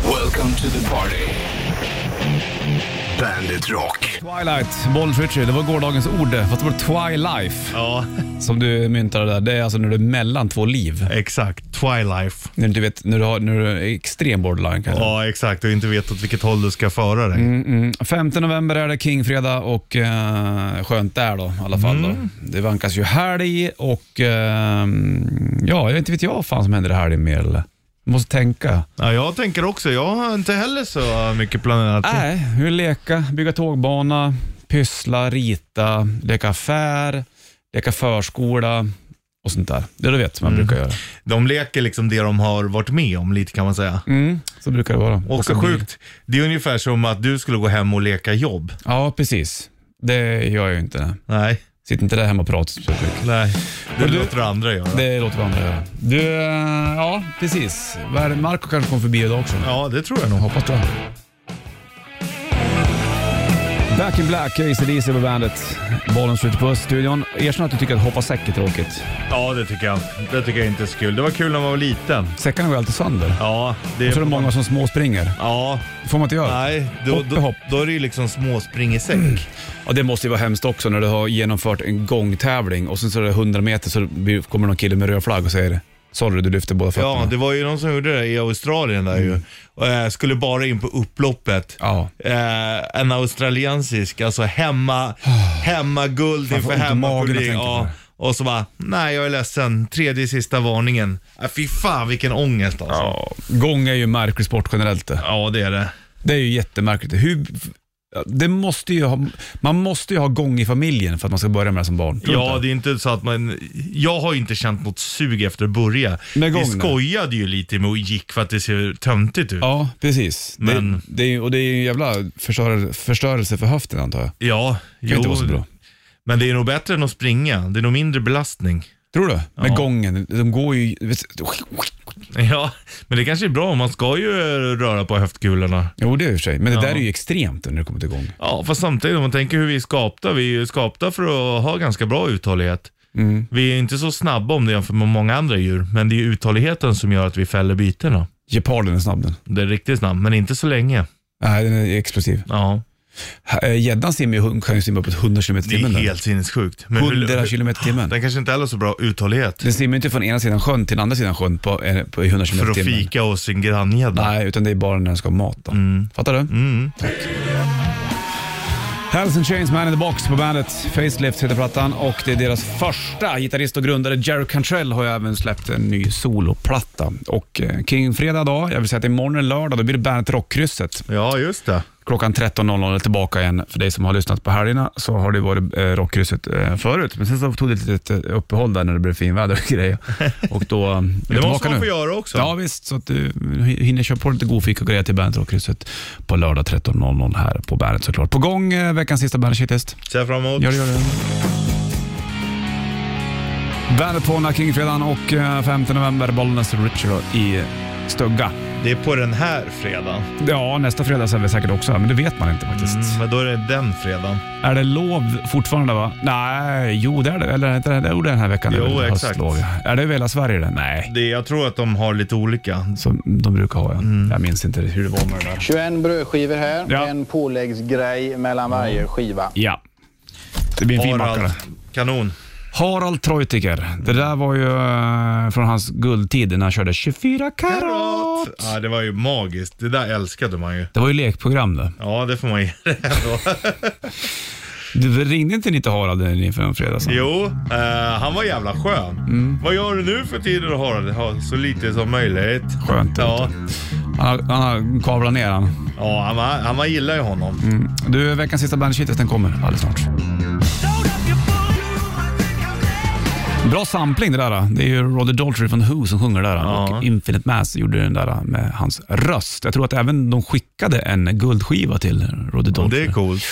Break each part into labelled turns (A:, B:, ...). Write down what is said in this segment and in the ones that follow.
A: Welcome to the party. Bandit Rock.
B: Twilight, Boll Ritchie, det var gårdagens ord. Fast det var twilife
C: Ja,
B: som du myntade där. Det är alltså när du är mellan två liv.
C: exakt. Twilife.
B: När du, vet, när du, har, när du är extrem borderline kanske.
C: Ja, Mm. exakt. Och inte vet åt vilket håll du ska föra dig.
B: 5 november är det Kingfredag och eh, skönt där då i alla fall. Då. Det vankas ju helg och eh, ja, jag vet inte vet jag vad fan som händer i helgen mer eller? Jag Måste tänka.
C: Ja, jag tänker också. Jag har inte heller så mycket planerat.
B: Nej, hur leka, bygga tågbana, pyssla, rita, leka affär, leka förskola och sånt där. Det du vet som man brukar göra.
C: De leker liksom det de har varit med om lite kan man säga.
B: Mm, så brukar det vara.
C: Också
B: Åka bil.
C: sjukt. Alltså, Det är ungefär som att du skulle gå hem och leka jobb.
B: Ja, precis. Det gör jag ju inte.
C: Nej,
B: Sitter inte där hemma och pratar så mycket.
C: nej. Det
B: Och du-
C: låter andra göra.
B: Det låter vi andra göra. Du, eh, ja precis. Vad är det? Marco kanske kommer förbi idag också.
C: Ja, det tror jag nog.
B: Hoppas det. Back in Black, ACDC på bandet. Bollen skjuter på studion. Erkänn att du tycker att hoppa säck är tråkigt.
C: Ja, det tycker jag. Det tycker jag inte är så kul. Det var kul när man var liten.
B: Säckarna går ju alltid sönder.
C: Ja, det
B: Jag tror det är många som småspringer.
C: Ja,
B: Det får man inte göra.
C: nej. Då,
B: Hopp är
C: då,
B: hopp.
C: då är det ju liksom småspring i säck.
B: Ja, det måste ju vara hemskt också när du har genomfört en gångtävling och sen så är det 100 meter så blir- kommer någon kille med röd flagg och säger Sorry, du lyfter båda fötterna.
C: Ja, det var ju någon som gjorde det i Australien där ju. Och, eh, skulle bara in på upploppet.
B: Mm. Ja.
C: Eh, en australiensisk, alltså hemma, hemma guld
B: Fan, får
C: inför
B: ont i magen att
C: hemmapublik.
B: tänka på
C: Ja.
B: det.
C: Och så bara, nej jag är ledsen, tredje sista varningen. Äh, fy fan vilken ångest alltså. Ja.
B: Ja, Gång är ju en märklig sport generellt det.
C: det är det.
B: Det är ju jättemärkligt. Hur, det måste ju ha, man måste ju ha gång i familjen för att man ska börja med det som barn. Tror du
C: Ja,
B: inte?
C: det är inte så att man... Jag har ju inte känt något sug efter att börja.
B: Med
C: Vi
B: gången.
C: skojade ju lite med och gick för att det ser töntigt ut. Ja,
B: ja precis.
C: Men-
B: Det, det är, ju- och det är ju en jävla förstör, förstörelse för höften antar jag. Det kan ju inte vara så bra.
C: Men det är nog bättre än att springa. Det är nog mindre belastning.
B: Tror du? Med
C: Ja.
B: gången, de går ju... Vet,
C: Ja, men det kanske är bra. Man ska ju röra på höftkulorna.
B: jo, det är i och för sig. Men det
C: Ja.
B: där är ju extremt när det kommer till gång.
C: Ja, fast samtidigt om man tänker hur vi är skapta. Vi är ju skapta för att ha ganska bra uthållighet.
B: Mm.
C: Vi är inte så snabba om det jämfört med många andra djur, men det är ju uthålligheten som gör att vi fäller bytena.
B: Geparden är snabb den.
C: Det är riktigt snabbt, men inte så länge.
B: Nej, den är explosiv.
C: Ja,
B: Eh, Gäddan simmar ju- kan ju simma uppåt 100 km i
C: det är
B: timmen. där.
C: helt sinnessjukt. Men hur-
B: 100 km i timmen.
C: Den kanske inte heller har så bra uthållighet.
B: Den simmar ju inte från ena sidan sjön till den andra sidan sjön på, eh, på i 100 km
C: För
B: i
C: att
B: timmen.
C: fika hos sin granngädda.
B: Nej, utan det är bara när den ska ha mat. Då. Fattar du?
C: Mm.
B: Hells and Chains, Man in the Box på bandet. Facelift heter plattan och det är deras första. Gitarrist och grundare Jerry Cantrell har ju även släppt en ny soloplatta. Och eh, kring fredag dag, jag vill säga att imorgon är lördag, då blir det bandet Rockkrysset.
C: Ja, just det.
B: Klockan 13.00 är tillbaka igen. För dig som har lyssnat på helgerna så har det varit eh, Rockkrysset eh, förut. Men sen så tog det ett litet eh, uppehåll där när det blev finväder och grejer. Och då... eh, är
C: Det måste
B: tillbaka nu.
C: man få göra också.
B: Ja visst, så att du hinner köpa på lite godfika och grejer till Bandet Rockkrysset på lördag 13.00 här på Bandet såklart. På gång eh, veckans sista Bandet Shitlist.
C: Ser jag fram emot.
B: Gör det, gör det. Bandet på Nacka Kingfredagen och eh, 5 november Bollnäs Ritual i Stugga.
C: Det är på den här fredagen.
B: Ja, nästa fredag så är vi säkert också här, men det vet man inte faktiskt.
C: Mm, men då är det den fredagen.
B: Är det lov fortfarande va? Nej, jo det är det. Eller är det inte det? Jo, det är den här veckan.
C: Jo,
B: Det är väl
C: exakt.
B: höstlov, ja. Är det över hela Sverige det? Nej.
C: Det, jag tror att de har lite olika.
B: Som de brukar ha ja.
C: Mm.
B: Jag minns inte hur det var med det där.
D: 21 brödskivor här,
B: Ja.
D: en påläggsgrej mellan
A: Mm.
D: varje skiva.
B: Ja. Det blir en fin macka.
C: Harald.
B: det.
C: Kanon.
B: Harald Treutiger. Det där var ju eh, från hans guldtid när han körde 24 karat.
C: Ja, det var ju magiskt. Det där älskade man ju.
B: Det var ju lekprogram det.
C: Ja, det får man ge det ändå.
B: Du ringde inte ni till Harald inför en fredag sen?
C: Jo, eh, han var jävla skön.
B: Mm.
C: Vad gör du nu för tiden då Harald? Ja, så lite som möjligt.
B: Skönt.
C: Ja,
B: Han har, han har kavlat ner han.
C: ja han, var- han var gillar ju honom.
B: Mm. Du, veckans sista bandet den kommer alldeles snart. Bra sampling det där. då. Det är ju Roger Daltrey från Who som sjunger det där.
C: Ja.
B: Och Infinite Mass gjorde den där med hans röst. Jag tror att även de skickade en guldskiva till Roger
C: Och
B: Daltrey.
C: det är coolt.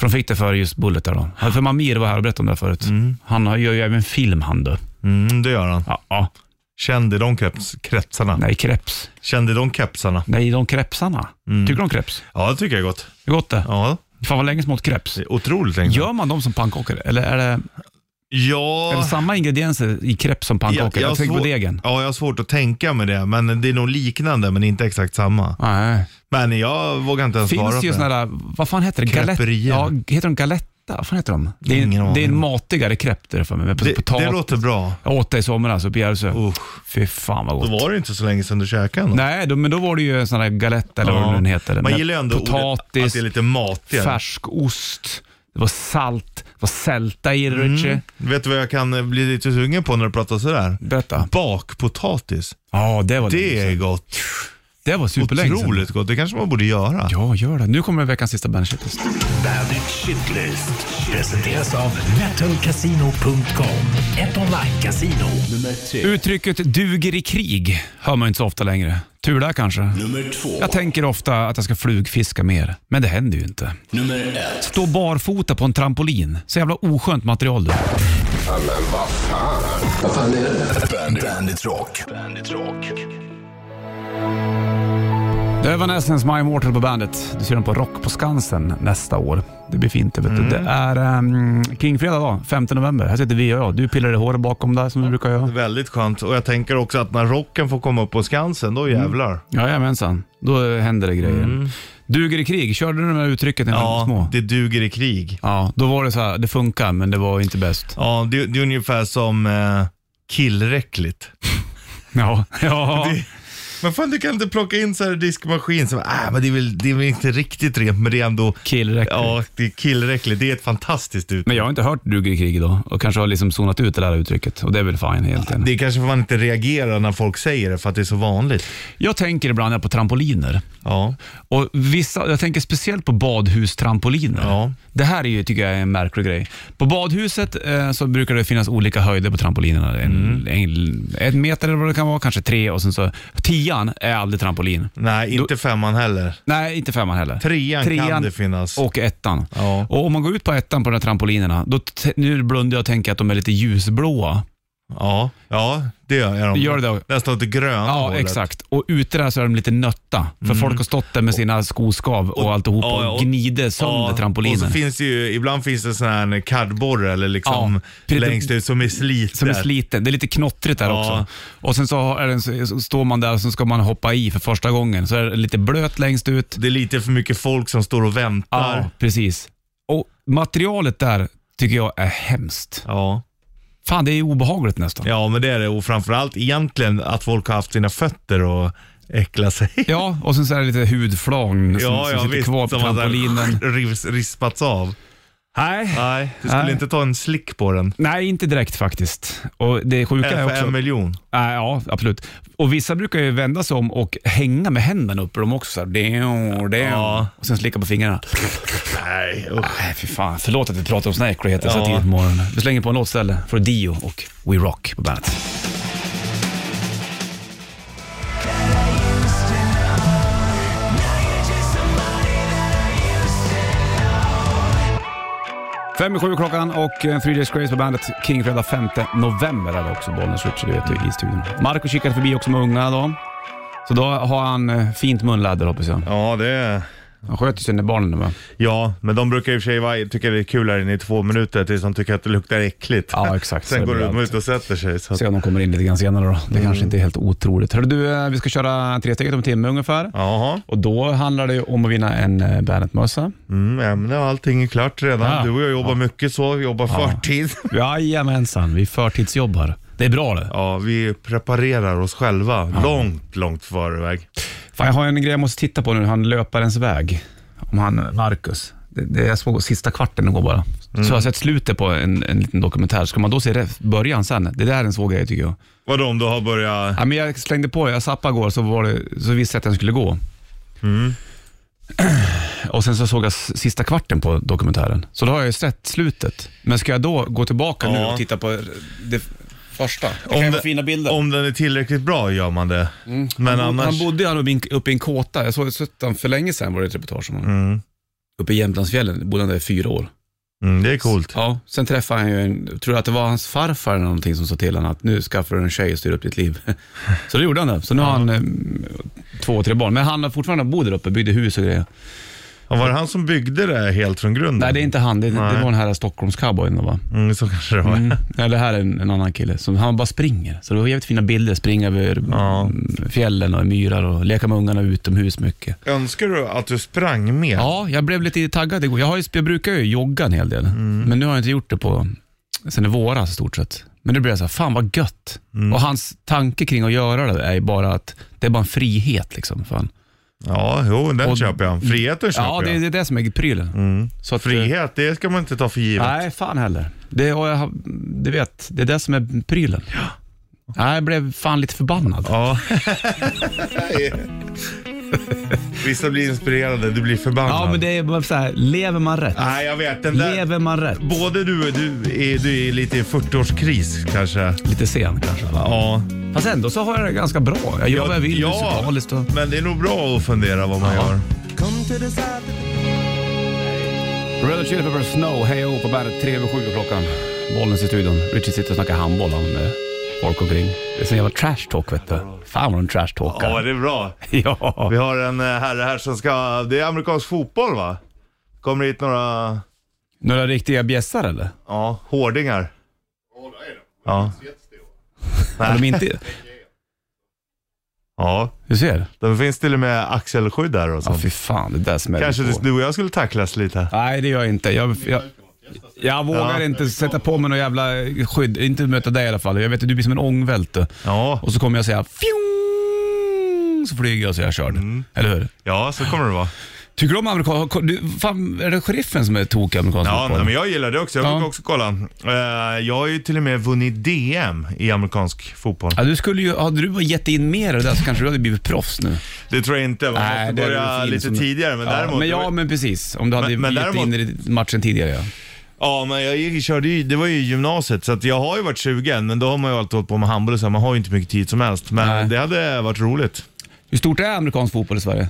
B: För de fick det för just Bullet där då. För Mamir var här och berättade om det här förut. Han har- gör ju även film han då.
C: Mm, det gör han.
B: Ja, ja.
C: Känd i de kreps, kretsarna.
B: Nej, kreps.
C: Känd i de kepsarna.
B: Nej, de krepsarna. Tycker du om kreps?
C: Ja, det tycker jag är gott.
B: Det är gott det.
C: Mm. Ja,
B: Fan vad länge som åt kreps.
C: det är otroligt länge sedan.
B: Gör man dem som pannkakor eller är det
C: Ja...
B: Är det samma ingredienser i crepe som pannkaka? Jag,
C: har
B: tänker på
C: svår-
B: degen.
C: Ja, jag har svårt att tänka med det, men det är nog liknande, men inte exakt samma.
B: Nej.
C: Men jag vågar inte ens svara
B: Finns det ju
C: på
B: sådana
C: det.
B: där, vad fan heter det? Galette?
C: Creperier.
B: Ja, heter de galetta? Vad fan heter de? Det är,
C: Ingen
B: en,
C: aning.
B: det är en matigare crepe där för mig. Med
C: Det,
B: potat.
C: det låter bra.
B: Jag åt det i somras uppe i Järvsö.
C: Usch.
B: Fy fan vad gott.
C: Då var det inte så länge sedan du käkade något.
B: Nej, då, men då var det ju en sån där galette eller vad
C: Ja.
B: den heter.
C: Man
B: Med
C: gillar ju ändå ordet att
B: potatis,
C: det är lite matigare.
B: färsk ost, det var salt, det var sälta i det.
C: Mm.
B: Richie.
C: Vet du vad jag kan eh, bli lite sugen på när du pratar sådär?
B: Berätta.
C: Bakpotatis.
B: Ja, det var
C: Det
B: länge sedan.
C: är gott.
B: Det var Mm. superlänge sedan.
C: Otroligt gott. Det kanske man borde göra.
B: Ja, gör det. Nu kommer veckans sista Bandit Shitlist.
A: Bandit Shitlist presenteras av metalcasino.com. Ett online-casino.
B: Uttrycket duger i krig hör man inte så ofta längre. Tur där kanske.
A: Nummer två.
B: Jag tänker ofta att jag ska flugfiska mer, men det händer ju inte.
A: Nummer ett.
B: Stå barfota på en trampolin. Så jävla oskönt material du.
A: Bandit, Bandit Rock. Bandit Rock.
B: Det är Evanescence My Immortal på bandet. Du ser dem på Rock på Skansen nästa år. Det blir fint det vet du. Det är um, Kingfredag då, 5 november. Här sitter vi och jag. Du pillar i håret bakom där som du brukar göra.
C: Väldigt skönt. Och jag tänker också att när rocken får komma upp på Skansen, då
B: Mm.
C: jävlar.
B: Jajamensan, då eh, händer det grejer. Duger i krig, körde du det här uttrycket när ni var små?
C: Mm. Ja, det duger i krig.
B: Ja, då var det så här, det funkar men det var inte bäst.
C: Ja, det, det är ungefär som eh, killräckligt.
B: Ja, ja.
C: Det- Men fan du kan inte plocka in så här diskmaskin som, äh, men det är, väl, det är väl inte riktigt rent men det är ändå,
B: killräckligt.
C: ja det är killräckligt. Det är ett fantastiskt uttryck.
B: Men jag har inte hört duger i krig idag och kanske har liksom zonat ut det där uttrycket och det är väl fine egentligen.
C: Det är kanske för man inte reagerar när folk säger det för att det är så vanligt.
B: Jag tänker ibland när jag är på trampoliner.
C: Ja,
B: Och vissa, jag tänker speciellt på badhustrampoliner.
C: Ja.
B: Det här är ju, tycker jag är en märklig grej. På badhuset eh, så brukar det finnas olika höjder på trampolinerna. En,
C: Mm.
B: en, en meter eller vad det kan vara, kanske tre och sen så... Tian är aldrig trampolin.
C: nej inte femman heller.
B: Nej, inte femman heller.
C: Trean kan det finnas.
B: Och ettan.
C: Ja.
B: Och om man går ut på ettan på de här trampolinerna, då t- nu blundar jag och tänker att de är lite ljusblåa.
C: Ja, ja det gör de.
B: Gör det då.
C: Nästan åt det gröna
B: Ja,
C: hållet.
B: exakt. Och ute där så är de lite nötta. För folk har stått där med sina skoskav och, alltihopa
C: ja,
B: och,
C: Mm. och-
B: gnider sönder
C: Ja,
B: trampolinen.
C: Och så finns det ju, ibland finns det sån här kardborre eller liksom
B: Ja, lite-
C: längst ut som är sliten.
B: Som är sliten. Det är lite knottrigt där
C: Ja.
B: också. Och sen så, är den, så står man där och så ska man hoppa i för första gången. Så är det lite blöt längst ut.
C: Det är lite för mycket folk som står och väntar.
B: Ja, precis. Och materialet där tycker jag är hemskt.
C: Ja.
B: Fan, det är obehagligt nästan. Ja,
C: ja, men det är det. Och framförallt egentligen att folk har haft sina fötter och äckla sig.
B: och sen så är det lite hudflagn som, som sitter kvar på
C: Som har så här
B: trampolinen.
C: rivs, rispats av.
B: Nej.
C: Nej, du skulle
B: Nej.
C: inte ta en slick på den.
B: Nej, inte direkt faktiskt. Och det sjuka
C: Eller
B: är
C: för
B: också...
C: en miljon.
B: Nej, ja, absolut. Och vissa brukar ju vända sig om och hänga med händerna uppe i dem också. Så här, "Deo, deo."
C: Ja.
B: Och sen slicka på fingrarna.
C: Nej,
B: Nej, fy fan. Förlåt att vi pratar om såna äckligheter så
C: Ja.
B: tidigt på morgonen. Vi slänger på en låt istället. För Dio och We Rock på bandet. Fem i sju klockan och eh, Three Days Grace på bandet. Kingfredag 5 november är det också, Bollnäs Ritchie, du vet du, i studion. Marco kikade förbi också med ungarna då. Så då har han eh, fint munläder hoppas jag.
C: Ja, det är...
B: Han sköter sig när barnen är med.
C: Ja, men de brukar i och för sig vara, tycka det är kul här inne i två minuter tills de tycker att det luktar äckligt.
B: Ja, exakt. Så
C: Sen
B: det Mm.
C: går
B: blir
C: de
B: allt.
C: ut och sätter sig. Så att,
B: Se om de kommer in lite grann senare då. Det kanske inte är helt otroligt. Hörru du, eh, vi ska köra tre steget om en timme ungefär.
C: jaha,
B: Och då handlar det ju om att vinna en eh, Bandet-mössa.
C: mm, ämne och allting är klart redan.
B: Ja.
C: Du och jag jobbar mycket så, vi jobbar förtid.
B: Jajamensan, vi förtidsjobbar. Det är bra det.
C: Ja, vi preparerar oss själva långt, långt förväg.
B: Fan, jag har en grej jag måste titta på nu. Han löparens väg. Om han, Marcus. Det, det jag såg sista kvarten igår bara. Så jag
C: Mm.
B: har sett slutet på en, en liten dokumentär. Ska man då se ref- början sen? Det där är en svår grej tycker jag.
C: Vadå om du har börjat...
B: Ja, men jag slängde på det. Jag zappade igår så, var det, så visste jag att den skulle gå.
C: Mm.
B: Och sen så såg jag s- sista kvarten på dokumentären. Så då har jag ju sett slutet. Men ska jag då gå tillbaka nu
C: Ja.
B: och titta på det f- första? Det
C: Om
B: kan ju
C: det-
B: vara fina bilder.
C: Om den är tillräckligt bra gör man det. Men
B: Mm. han,
C: annars...
B: han bodde ju uppe i en- uppe i en kåta. Jag såg sett han för länge sedan var det ett reportage om honom. Uppe i Jämtlandsfjällen bodde han där i fyra år.
C: mm, det är coolt.
B: Ja, sen träffade han ju en, tror jag att det var hans farfar eller någonting som sa till honom att nu skaffar du en tjej och styr upp ditt liv. Så det gjorde han det. Så nu har han eh, två, tre barn. Men han har fortfarande bor där uppe, byggde hus och grejer.
C: Ja, var det han som byggde det här helt från grunden?
B: Nej, det är inte han. Det, det var
C: Nej.
B: den här Stockholmscowboyn då, va?
C: Mm, så kanske det var.
B: Ja, det här är en, en annan kille. Som, han bara springer. Så det var jävligt fina bilder. Springa över
C: Ja.
B: mm, fjällen och myrar och leka med ungarna utomhus mycket.
C: Önskar du att du sprang mer?
B: Ja, jag blev lite taggad igår. Jag, har ju, jag brukar ju jogga en hel del,
C: Mm.
B: men nu har jag inte gjort det på sen i våras i stort sett. Men nu blev jag så här, fan vad gött.
C: Mm.
B: Och hans tanke kring att göra det är ju bara att det är bara en frihet. Liksom, fan.
C: Ja, jo, den
B: Och-
C: köper jag. Friheten köper
B: Ja, det,
C: jag. Mm.
B: det är det som är prylen. Så att, eh,
C: Frihet, det ska man inte ta för givet.
B: Nej, fan heller. Det, och jag, har- du vet, det är det som är prylen. Nej, jag blev fan lite förbannad.
C: Ja. Vissa blir inspirerade, du blir förbannad.
B: Ja, men det är bara så här, lever man rätt?
C: Nej, jag vet. Den där...
B: Lever man rätt?
C: Både du och du är, du är lite i 40-årskris kanske.
B: Lite sen kanske. Va?
C: Ja.
B: Fast ändå så har jag det ganska bra. Jag gör vad jag vill musikaliskt. Och...
C: men det är nog bra att fundera vad man
B: Ja.
C: gör.
B: Red Hot Chili Peppers Snow, hej och hå på bandet. Tre över sju är klockan. Bollens i studion. Richard sitter och snackar handboll han med folk omkring. Det är sån jävla trash talk vet du. Fan vad de trash
C: Ja,
B: talkar.
C: det är bra.
B: Ja.
C: Vi har en eh, herre här som ska... Det är amerikansk fotboll va? Kommer hit några...
B: Några riktiga bjässar eller?
C: Ja, hårdingar. Ja,
B: Har de inte...
C: ja.
B: Du ser.
C: Det finns till och med axelskydd där och
B: Ja
C: sånt.
B: fy fan, det där smäller
C: Kanske
B: på.
C: du och jag skulle tacklas lite.
B: Nej det gör jag inte. Jag, jag, jag vågar
C: Ja.
B: inte sätta på mig någon jävla skydd. Inte möta dig i alla fall. Jag vet att du blir som en ångvält du.
C: Ja,
B: Och så kommer jag säga fjong, så flyger jag så jag är körd. Eller hur?
C: ja så kommer det vara.
B: Tycker du om amerikansk... Fan, är det sheriffen som är tokig i amerikansk
C: Ja,
B: fotboll?
C: nej, men jag gillar det också. Jag
B: Ja.
C: brukar också kolla. Eh, jag har ju till och med vunnit DM i amerikansk fotboll.
B: Ja, du skulle ju, hade du bara gett in mer av det där så kanske du hade blivit proffs nu.
C: Det tror jag inte. Man
B: Nej, det
C: måste
B: är
C: börja
B: väl fin
C: lite
B: som-
C: tidigare. Men däremot.
B: men ja, men precis. Om du hade
C: Men- men
B: gett in i matchen tidigare. Ja.
C: Ja, men jag gick- körde ju, det var ju gymnasiet, så att jag har ju varit 20 än, men då har man ju alltid hållit på med handboll och så, här, man har ju inte mycket tid som helst. Men
B: Nej.
C: det hade varit roligt.
B: Hur stort är amerikansk fotboll i Sverige?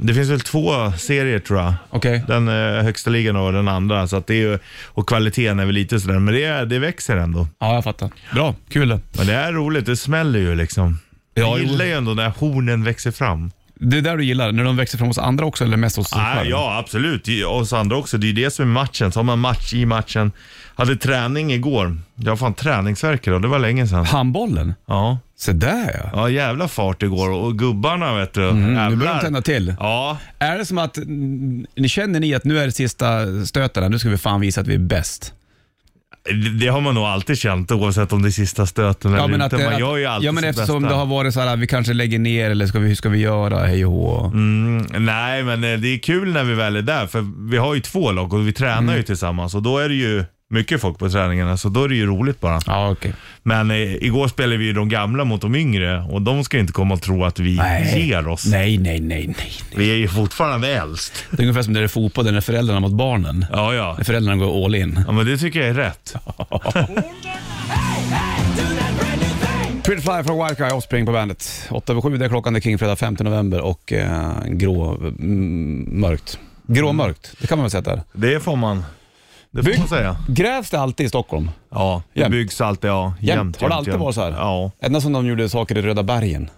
C: Det finns väl två serier tror jag.
B: Okej.
C: Den eh, högsta ligan och den andra. Så att det är ju, och kvaliteten är väl lite sådär, men det, det växer ändå.
B: Ja, jag fattar. Bra, kul det.
C: Men det är roligt, det smäller ju liksom.
B: Ja,
C: Jag
B: jo.
C: gillar ju ändå när hornen växer fram.
B: Det är där du gillar, när de växer fram hos andra också eller mest hos sig
C: Ah,
B: själv?
C: ja, absolut. Det är- Oss andra också. Det är ju det som är matchen. Så har man match i matchen. Hade träning igår. Jag har fan träningsvärk idag. Det var länge sedan.
B: Handbollen?
C: Ja.
B: Se där ja.
C: Ja, jävla fart igår och gubbarna vet du.
B: Mm. Nu börjar
C: Jävlar.
B: de tända till.
C: Ja,
B: Är det som att, mm, ni känner ni att nu är det sista stöten, här, nu ska vi fan visa att vi är bäst?
C: det- det har man nog alltid känt oavsett om det är sista stöten eller inte.
B: det-
C: man gör ju alltid
B: ja, men
C: sitt
B: eftersom
C: bästa.
B: det har varit så här, vi kanske lägger ner eller ska vi, hur ska vi göra, hej och hå.
C: Mm, nej, men eh, det är kul när vi väl är där för vi har ju två lag och vi tränar
B: Mm.
C: ju tillsammans och då är det ju mycket folk på träningarna så då är det ju roligt bara.
B: Ja, okej.
C: Men eh, igår spelade vi ju de gamla mot de yngre och de ska ju inte komma och tro att vi
B: Nej.
C: ger oss.
B: Nej, nej, nej, nej.
C: Vi är ju fortfarande äldst.
B: Det är ungefär som när det är fotboll, där det är föräldrarna mot barnen.
C: Ja, ja.
B: När föräldrarna går all in.
C: Ja, men det tycker jag är rätt.
B: Pretty Fly från Wild Guy, Offspring på bandet. 8 över 7, det är klockan, det är Kingfredag 5 november och eh, grå, mm, mörkt. Gråmörkt, det kan man väl säga att det är.
C: Det får man, det får
B: Bygg-
C: man säga.
B: Grävs det alltid i Stockholm?
C: Ja, det
B: Jämt.
C: byggs alltid. Ja, jämt,
B: Jämt? Har det alltid
C: jämt.
B: varit så här?
C: Ja.
B: Ända som de gjorde saker i Röda bergen.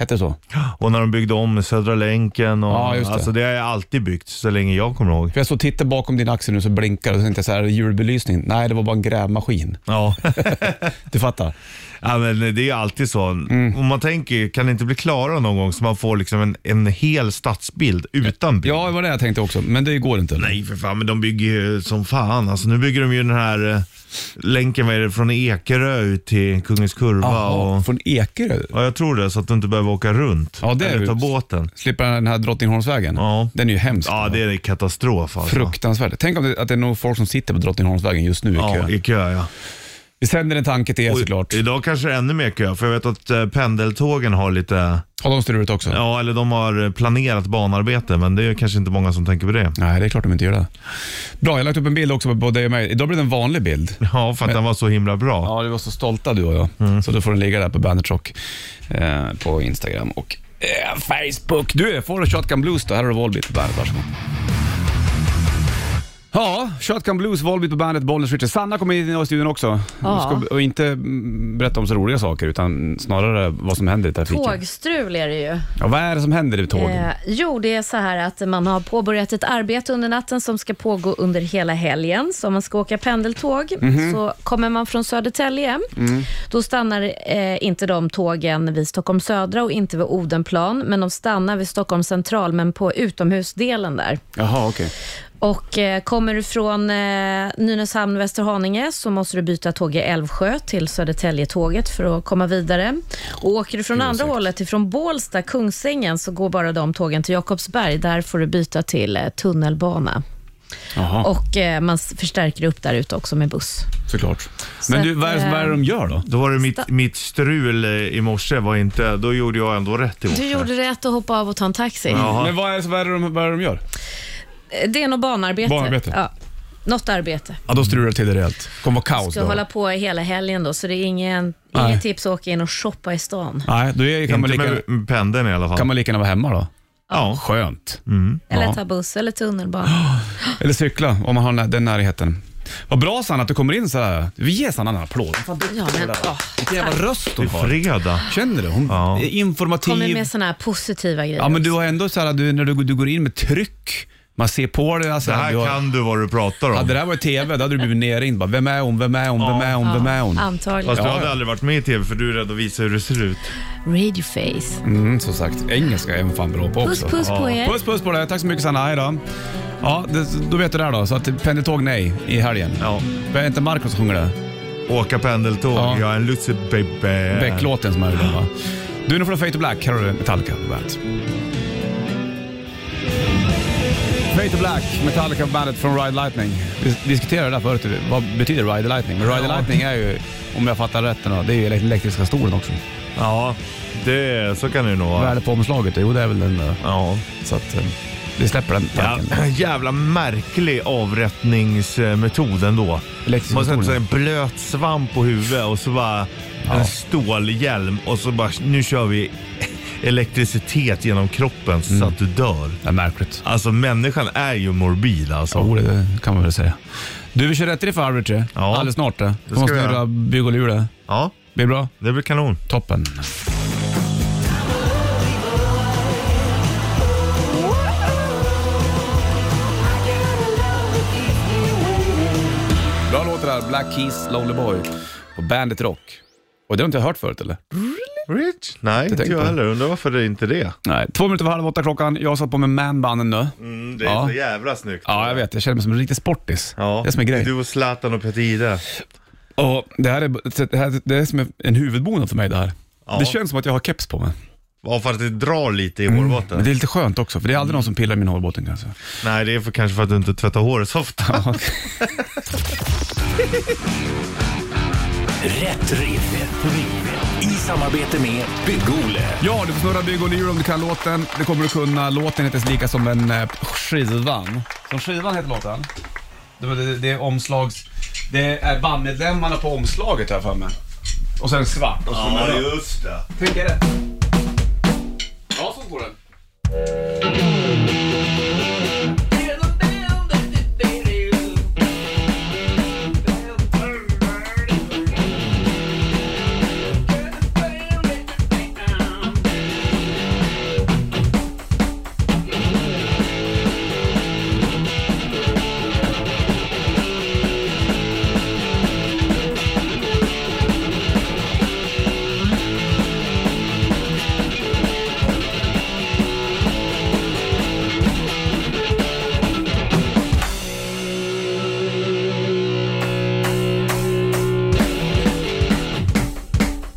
B: Hette det så?
C: Och när de byggde om Södra länken och...
B: Ja, just det.
C: Alltså det har alltid byggts så länge jag kommer ihåg.
B: För jag såg titta bakom din axel nu så blinkar det och så tänkte jag så här, är det julbelysning? Nej, det var bara en grävmaskin.
C: Ja.
B: Du fattar?
C: ja, men det är alltid så.
B: Mm.
C: Om man tänker, kan det inte bli klara någon gång så man får liksom en, en hel stadsbild utan bild?
B: Ja, det var det jag tänkte också, men det går inte.
C: Nej för fan, men de bygger ju som fan. Alltså, nu bygger de ju den här eh, länken vad är det, från Ekerö ut till Kungens Kurva.
B: Jaha,
C: Och,
B: från Ekerö?
C: ja, jag tror det, så att du inte behöver åka runt.
B: Ja, det är
C: Eller
B: ju-
C: ta båten.
B: Slippa den här Drottningholmsvägen?
C: Ja.
B: Den är ju hemsk.
C: Ja, det är katastrof alltså.
B: Fruktansvärt. Tänk om det, att det är nog folk som sitter på Drottningholmsvägen just nu i
C: Ja,
B: kö.
C: i kö ja.
B: Vi sänder en tanke till er
C: Och
B: såklart.
C: Idag kanske det är ännu mer kö, för jag vet att eh, pendeltågen har lite,
B: Har de struligt också?
C: ja eller de har eh, planerat banarbete, men det är kanske inte många som tänker på det.
B: Nej, det är klart de inte gör det. Bra, jag har lagt upp en bild också på både dig och mig. Idag blev det en vanlig bild.
C: Ja, för att den var så himla bra.
B: Ja, du var så stolta du och jag. Så då får den ligga där på Bandit Rock eh, på Instagram och eh, Facebook. Du, får du Shotgun Blues då? Här har du Volbeat på Bandit, varsågod. Ja, Shotgun Blues, Volbeat på bandet, Bollnäs Richard. Sanna kommer in i studion också.
E: Ja.
B: Hon Ska, och inte mm, berätta om så roliga saker, utan snarare vad som händer i trafiken.
E: Tågstrul är det ju.
B: Ja, vad är det som händer i tåg?
E: Eh, jo, det är så här att man har påbörjat ett arbete under natten som ska pågå under hela helgen. Så om man ska åka pendeltåg så kommer man från Södertälje. Då stannar eh, inte de tågen vid Stockholm södra och inte vid Odenplan, men de stannar vid Stockholm central, men på utomhusdelen där.
B: Jaha, okej.
E: Och eh, kommer du från eh, Nynäshamn, Västerhaninge så måste du byta tåg i Älvsjö till Södertäljetåget för att komma vidare. Och åker du från andra hållet, ifrån Bålsta, Kungsängen, så går bara de tågen till Jakobsberg. Där får du byta till eh, tunnelbana.
B: Jaha,
E: Och eh, man s- förstärker upp där ute också med buss.
B: såklart.
E: Så
B: Men du,
E: att,
B: vad är, det- vad är det de gör då?
C: Då var det
E: Sta-
C: mitt, mitt strul eh, i morse, var inte, då gjorde jag ändå rätt i morse.
E: Du gjorde rätt att hoppa av och ta en taxi.
C: Jaha.
B: Men vad är, det- vad är det de, vad är det de gör?
E: Eh, Det är nog banarbete.
B: Banarbete.
E: Ja. Något arbete.
B: Ja, då strular det till det rejält. kommer vara kaos
E: Ska
B: då.
E: hålla på hela helgen då, så det är ingen,
B: Nej.
E: inget tips att åka in och shoppa i stan.
B: Nej, då är, kan, man
C: Inte
B: lika,
C: med med pendeln i alla fall.
B: kan man lika gärna vara hemma då.
C: Ja.
B: Skönt. Ja.
E: Eller ta buss eller tunnelbana.
B: Eller cykla, om man har nä- den närheten. Vad bra Sanna att du kommer in så här. Vi ger Sanna en applåd. Fan, du-
E: Ja, men, åh,
B: Vilken jävla röst
C: Det
B: hon
C: är
B: har.
C: fredag.
B: Känner du? Hon
C: Ja.
B: är
E: kommer
B: informativ.
E: med såna här positiva grejer.
B: Ja, men du har ändå så här, du, när du, du går in med tryck. Man ser på dig. Alltså,
C: Det här
B: du har,
C: kan du vad du pratar om.
B: Hade det här varit TV, då hade du blivit nerringd. Bara, Vem är hon? Vem är hon? Vem är hon? Vem är hon?
E: Antagligen.
C: Fast du
B: Ja,
C: hade
B: ja.
C: aldrig varit med i TV för du är rädd att visa hur det ser ut.
E: Radioface.
B: Mm, som sagt, engelska är hon fan bra på
E: Puss
B: också.
E: puss på er.
B: Puss puss på dig. Tack så mycket Sanna. Hej då. Ja, det, då vet du det här då. Så att pendeltåg nej i helgen.
C: Ja.
B: Var det inte Marcus som sjunger det?
C: Åka pendeltåg,
B: Ja.
C: jag är en lucy baby.
B: Beck-låten som är den va? Du, nu får du Fate to Black. Här har du Metallica på bandet. Fate to Black, Metallica på bandet från Ride Lightning. Vi diskuterade det där förut. Vad betyder Ride Lightning? Men Ride Lightning är ju, om jag fattar rätt, nu då, det är ju elektriska stolen också.
C: Ja, det, så kan det nog
B: Vad är
C: vara.
B: det på omslaget? Jo, det är väl den där.
C: Ja.
B: Så att eh, vi släpper den
C: Ja,
B: tanken.
C: jävla märklig avrättningsmetod ändå.
B: Elektriska
C: Man sätter sig
B: stolen.
C: en blöt svamp på huvudet och så bara en stålhjälm och så bara nu kör vi elektricitet genom kroppen så att du dör.
B: Det är märkligt.
C: Alltså människan är ju morbid alltså.
B: Jo, det kan man väl säga. Du, vi kör rätt i det för Arbitre.
C: Ja.
B: Alldeles snart. eh. Det
C: ska
B: måste
C: vi
B: vi
C: göra.
B: göra bygg och lur det.
C: Ja,
B: Blir bra?
C: det blir kanon.
B: Toppen. Bra låt det där. Black Keys, Lonely Boy på Bandit Rock. Och det har inte jag hört förut eller?
C: Rich? Nej, inte
B: tänkte
C: jag
B: jag.
C: heller. Undrar varför det är inte det.
B: Nej, två minuter över halv åtta klockan. Jag har satt på mig manbanden nu.
C: det
B: är Ja. så
C: jävla snyggt.
B: Ja, jag vet. Jag känner mig som en riktig sportis.
C: Ja.
B: Det är som är grejen.
C: Du och Zlatan och Petide.
B: Och det, här är, det, här, det är som en huvudbonad för mig det här.
C: Ja.
B: Det känns som att jag har keps på mig.
C: Ja, för att det drar lite i hårbotten.
B: Men det är lite skönt också, för det är aldrig någon som pillar i min hårbotten kanske.
C: Nej, det är för, kanske för att du inte tvättar håret så ofta.
A: Rätt riff. Rätt riff. I samarbete med Bygg-Ole.
B: Ja, du får snurra bygg och lur om du kan låten. Det kommer du kunna. Låten heter lika som en eh, skivan. Som skivan heter låten. Det, det, det är omslags... Det är bandmedlemmarna på omslaget här för mig. Och sen svart. Och så
C: just det.
B: Fick jag rätt? Ja, så går den.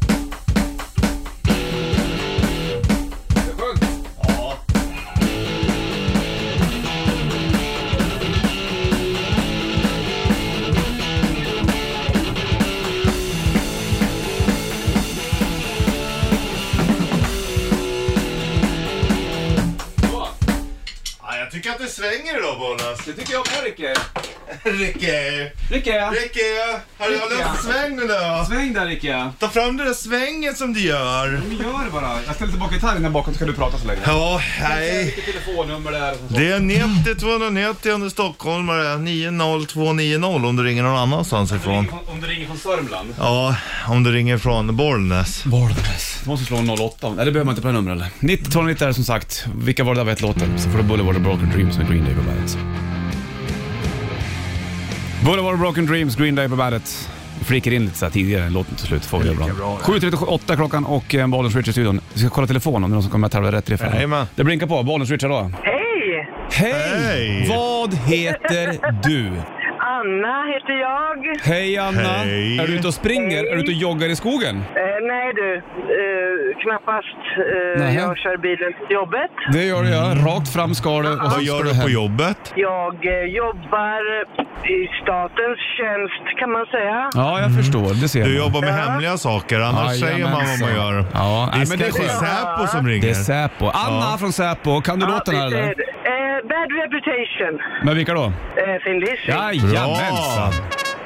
C: Ja, jag tycker att det svänger idag, Bonas.
B: Det tycker jag om Eriker.
C: Ricke!
B: Ricke!
C: Ricke! Har du hållit upp sväng nu då?
B: Sväng där Ricke!
C: Ta fram den där svängen som du gör.
B: Gör det bara. Jag ställer tillbaka gitarren där bakom så kan du prata så länge.
C: Ja, hej.
B: telefonnummer där.
C: Det är 90 290 om du är stockholmare. 90290 om du ringer någon annanstans ifrån.
B: Om du ringer från Sörmland.
C: Ja, om du ringer från Bollnäs.
B: Bollnäs. Du måste slå 08. Nej, det behöver man inte på det numret eller? 90-290 är det som sagt. Vilka var det där vet låten? Så får du Boulevard of Broken Dreams med Green Day på bandet. Boulevard of Broken Dreams, Green Day på bandet. Vi flikar in lite så här tidigare än låten till slut. Får vi göra ibland. 7.38 klockan och eh, Bollens Richard i studion. Vi ska kolla telefonen om det är någon som kommer att tävla rätt riff.
C: Jajamän.
B: Det blinkar på. Bollens Richard då.
F: Hej!
B: Hej!
C: Hej!
B: Vad heter du?
F: Anna heter jag.
B: Hej Anna!
C: Hej.
B: Är du ute och springer? Är du ute och joggar i skogen?
F: Eh, nej du, eh, knappast. Eh,
B: Nähä.
F: jag kör bilen till jobbet.
B: Det gör du ja. Rakt fram ska du. och så
C: Vad
B: ska
C: gör du
B: hem.
C: på jobbet?
F: Jag eh, jobbar i statens tjänst kan man säga.
B: Ja, jag förstår. Det ser
C: Du
B: man.
C: jobbar med hemliga saker, annars säger man vad man gör.
B: Ja,
C: Det
B: nej,
C: är
B: men det är
C: kanske
B: skönt.
C: Säpo som ringer.
B: Det är Säpo. Anna
C: Ja.
B: från Säpo. Kan du låten här
F: visst är
B: eller?
F: det. Eh, bad reputation.
B: Med vilka då?
F: Eh, Thin Lizzy.
B: Jajamensan!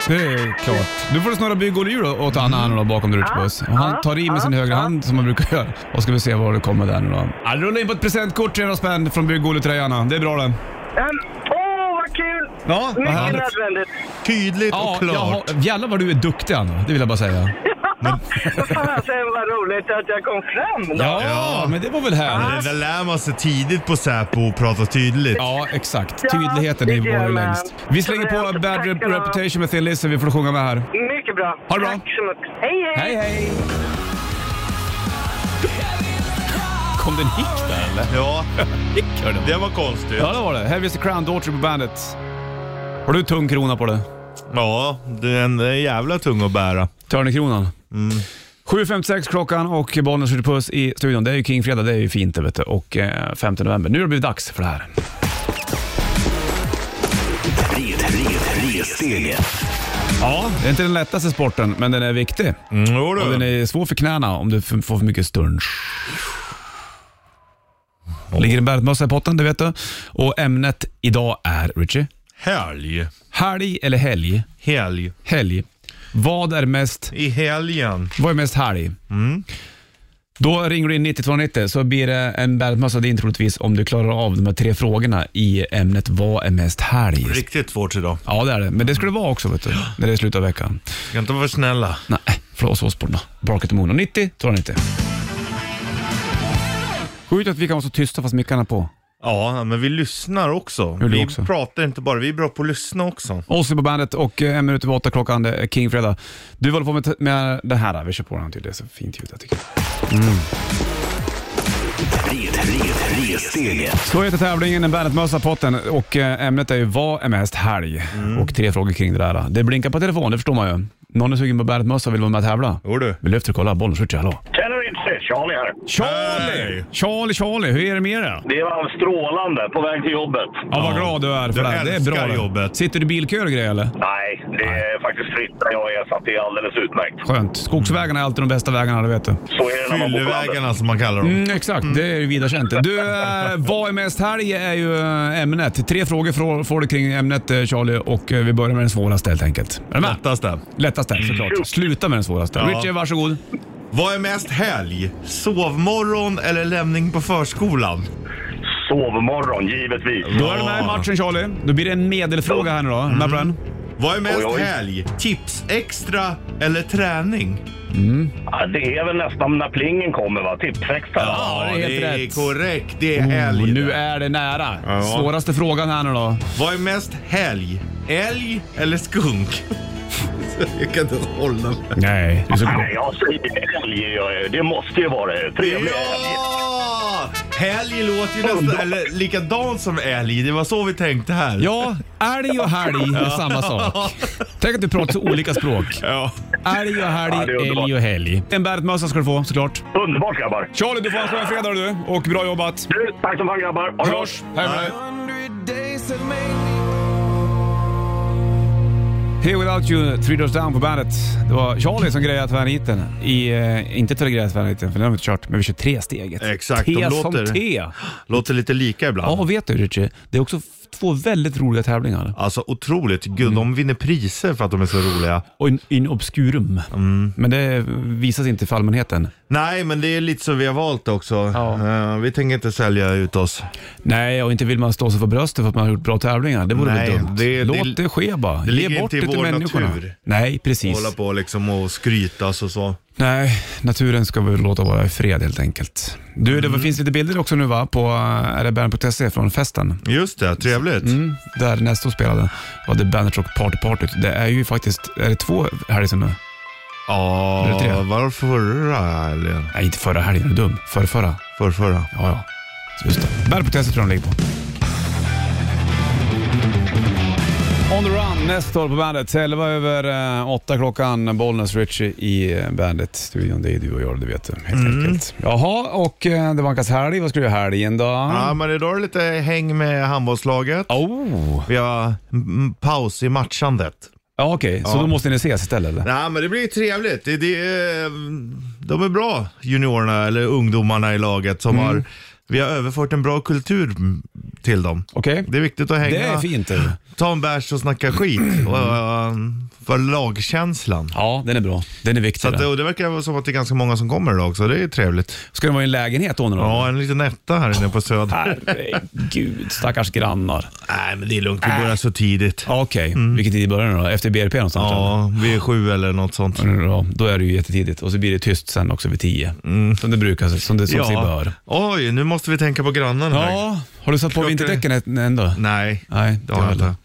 B: Det är klart. Nu får du snurra bygghjulet åt Anna här nu då, bakom där ute på oss. Och Han tar i med sin högra hand som man brukar göra. Och ska vi se var du kommer där nu då. Ja, rulla in på ett presentkort, 300 spänn från bygghjulet till dig Anna. Det är bra det.
F: Ehm, Åh, vad kul!
B: Ja, vad
F: Mycket
B: härligt.
F: nödvändigt.
C: Tydligt
B: Ja,
C: och
B: jag
C: klart.
B: har, jävlar vad du är duktig Anna. Det vill jag bara säga.
F: Fasen vad roligt att jag kom fram då.
B: Ja,
C: Ja.
B: men det var väl
C: Men
B: härligt.
C: det där lär man sig tidigt på Säpo och prata tydligt.
B: Ja, exakt.
F: Ja,
B: Tydligheten
F: det
B: är
F: gör
B: vår
F: man.
B: längst. Vi slänger på
F: Tack,
B: Bad
F: tack,
B: Rep-
F: ja.
B: Reputation med Thin Lizzy. Vi får sjunga med här.
F: Mycket bra.
B: Ha det bra.
F: Tack så mycket. Hej, hej!
B: Hej, hej! Kom den hick där eller?
C: Ja,
B: Hick hörde man.
C: det var konstigt.
B: Ja, det var det. Heavy is the Crown, Daughtry på bandet. Har du tung krona på det?
C: Ja, den är jävla tung att bära.
B: Törnekronan? Mm. 7.56 klockan och Bollnäs skjuter puss i studion. Det är ju Kingfredag, det är ju fint det vet du. Och eh, 5 november. Nu har det blivit dags för det här.
A: Red, red, resstege.
B: Ja, det är inte den lättaste sporten, men den är viktig.
C: Mm, jo
B: Och den
C: du.
B: är svår för knäna om du f- får för mycket stunch. Ligger en bärmössa i potten, det vet du. Och ämnet idag är, Richie,
C: Helg.
B: helg eller helg?
C: Helg.
B: Helg. Vad är mest,
C: I helgen.
B: vad är mest helg? Då ringer du in 9290 så blir det en bärmössa din troligtvis om du klarar av de här tre frågorna i ämnet vad är mest helg?
C: Riktigt svårt idag.
B: Ja, det är det. Men det ska det vara också, vet du, när det är slut av veckan.
C: Ska inte vara för snälla.
B: Nej, Flås Osborn då. Bark at the Moon. Och 90, 290. Sjukt att vi kan vara så tysta fast mickarna är på.
C: Ja, men vi lyssnar också.
B: Gjorde
C: vi
B: också.
C: pratar inte bara, vi är bra på att lyssna också.
B: Ozzy på bandet och eh, en minut över åtta klockan, det är Kingfredag. Du håller på med, med det här. då. Vi kör på den här till. Det är så fint ljud jag tycker.
A: Red, red, resstege.
B: Så heter tävlingen en Bandet-mössa på potten och eh, ämnet är ju vad är mest helg?
C: Mm.
B: Och tre frågor kring det där. Det blinkar på telefon, det förstår man ju. Någon är sugen på Bandet-mössa och vill vara med och tävla.
C: Jo du.
B: Vi lyfter och kollar. Bollen switchar, hallå.
G: Känner inte? Charlie här.
B: Charlie!
C: Hej!
B: Charlie, Charlie, hur är det med dig?
G: Det var strålande på väg till jobbet.
B: Ja, vad
C: Ja.
B: glad du är för
C: Du
B: det. här. Det är
C: älskar
B: bra. det.
C: jobbet.
B: Sitter du i bilkö och grejer eller?
G: Nej, det är faktiskt fritt där jag är så att det är alldeles utmärkt.
B: Skönt. Skogsvägarna är alltid de bästa vägarna, det vet du.
G: Så är det när man bor på landet.
C: Fyllevägarna som man kallar dem.
B: Mm, exakt, det är ju vida känt. Du, eh, vad är mest helg är ju eh, ämnet. Tre frågor får- får du kring ämnet eh, Charlie och eh, vi börjar med den svåraste helt enkelt. Är du med?
C: Lättaste.
B: Lättaste såklart. Sluta med den svåraste.
C: Ja.
B: Richie, varsågod.
C: Vad är mest helg? Sovmorgon eller lämning på förskolan?
G: Sovmorgon, givetvis.
B: Då är du med i matchen Charlie. Då blir det en medelfråga här nu då. Med på den.
C: Vad är mest
G: Oj, oj.
C: helg? Tips extra eller träning?
G: Ja, det är väl nästan när plingen kommer, va? Tipsextra.
B: Ja, det är helt rätt.
C: korrekt. Det är
B: Och
C: helg.
B: nu är det nära.
C: Ja.
B: Svåraste frågan här nu då.
C: Vad är mest helg? Älg eller skunk? Jag kan inte hålla mig.
B: Nej, du är så
G: Nej, jag säger helg. gör jag ju. Det måste ju vara det. Trevlig helg.
C: Ja! Helg låter ju nästan eller, likadant som älg. Det var så vi tänkte här.
B: Ja, älg och helg är samma sak. Tänk att du pratar så olika språk.
C: Ja.
B: Älg och helg,
G: Ja, det är underbart.
B: älg och helg. En Bäret-mössa ska du få såklart.
G: Underbart, grabbar.
B: Charlie, du får en skön fredag du och bra jobbat.
G: Du, tack som fan, grabbar. Ha det gott.
B: Hörs! Hej med dig. Here Without You, Three Doors Down på bandet. Det var Charlie som grejade tvärniten. I, eh, inte telegrejade tvärniten, för den har vi inte kört, men vi kör tre steget.
C: Exakt,
B: T
C: de
B: som
C: låter-
B: T.
C: Låter lite lika
B: Ja,
C: ibland.
B: och vet du Richie, det är också f- två väldigt roliga tävlingar.
C: Alltså otroligt. Gud, de vinner priser för att de är så roliga.
B: Och in, in obscurum. Mm. Men det visas inte för allmänheten.
C: Nej, men det är lite så vi har valt också.
B: Ja.
C: Eh, vi tänker inte sälja ut oss.
B: Nej, och inte vill man stå sig för bröstet för att man har gjort bra tävlingar. Det vore
C: Nej,
B: väl dumt.
C: det-
B: Låt
C: det-
B: det, ske bara.
C: det ligger
B: Ge bort
C: inte i
B: det till
C: vår
B: människorna.
C: natur.
B: Nej, precis.
C: Hålla på liksom och skrytas och så.
B: Nej, naturen ska vi låta vara i fred helt enkelt. Du,
C: Mm.
B: det finns lite bilder också nu va, på eh, rbern.se från festen.
C: Just det, trevligt.
B: Mm, där Nestor spelade. Var det Bandit Rock Party Party. Det är ju faktiskt, är det två helger sedan nu? Är det
C: Ja,
B: tre?
C: var det förra helgen?
B: Nej, inte förra helgen. Är du dum? Förrförra.
C: För förra.
B: Ja, ja. Så Just det. Bärpotestet tror jag den ligger på. On the run, Nestor på bandet. 11 över eh, 8 klockan. Bollnäs Richie i eh, bandet-studion. Det är du och jag, det vet du. Helt
C: Mm.
B: enkelt. Jaha, och eh, det vankas helg. Vad ska du göra i helgen då?
C: Ja, men idag är det lite häng med handbollslaget.
B: Oh.
C: Vi har mm, paus i matchandet.
B: Ja, okej. Så
C: Ja.
B: då måste ni ses istället eller?
C: Nej, men det blir trevligt. Det, det, eh, de är bra, juniorerna eller ungdomarna i laget. Som har, vi har överfört en bra kultur mm, till dem.
B: Okej.
C: Det är viktigt att hänga.
B: Det är fint. du.
C: Ta en bärs och snacka skit. Och, eh, för lagkänslan.
B: Ja, den är bra. Den är viktig.
C: Så att,
B: den.
C: och det verkar vara som att det är ganska många som kommer idag också. Det är trevligt.
B: Ska den vara i en lägenhet då? nu då?
C: Ja, en liten etta här inne på Söder.
B: Herregud, stackars grannar.
C: Nej, men det är lugnt. Vi börjar så tidigt.
B: Ja, Okej, vilken tid börjar den då? Efter BRP någonstans? eller?
C: Mm. Ja, vi är sju eller något sånt.
B: Ja, då är det ju jättetidigt och så blir det tyst sen också vid tio. Som det brukar, som det som sig bör.
C: Oj, nu måste vi tänka på grannarna. här.
B: Ja, Mm. har du satt på
C: Klockan-
B: vinterdäcken än- ändå?
C: Nej,
B: Nej,
C: det har jag
B: heller.
C: inte.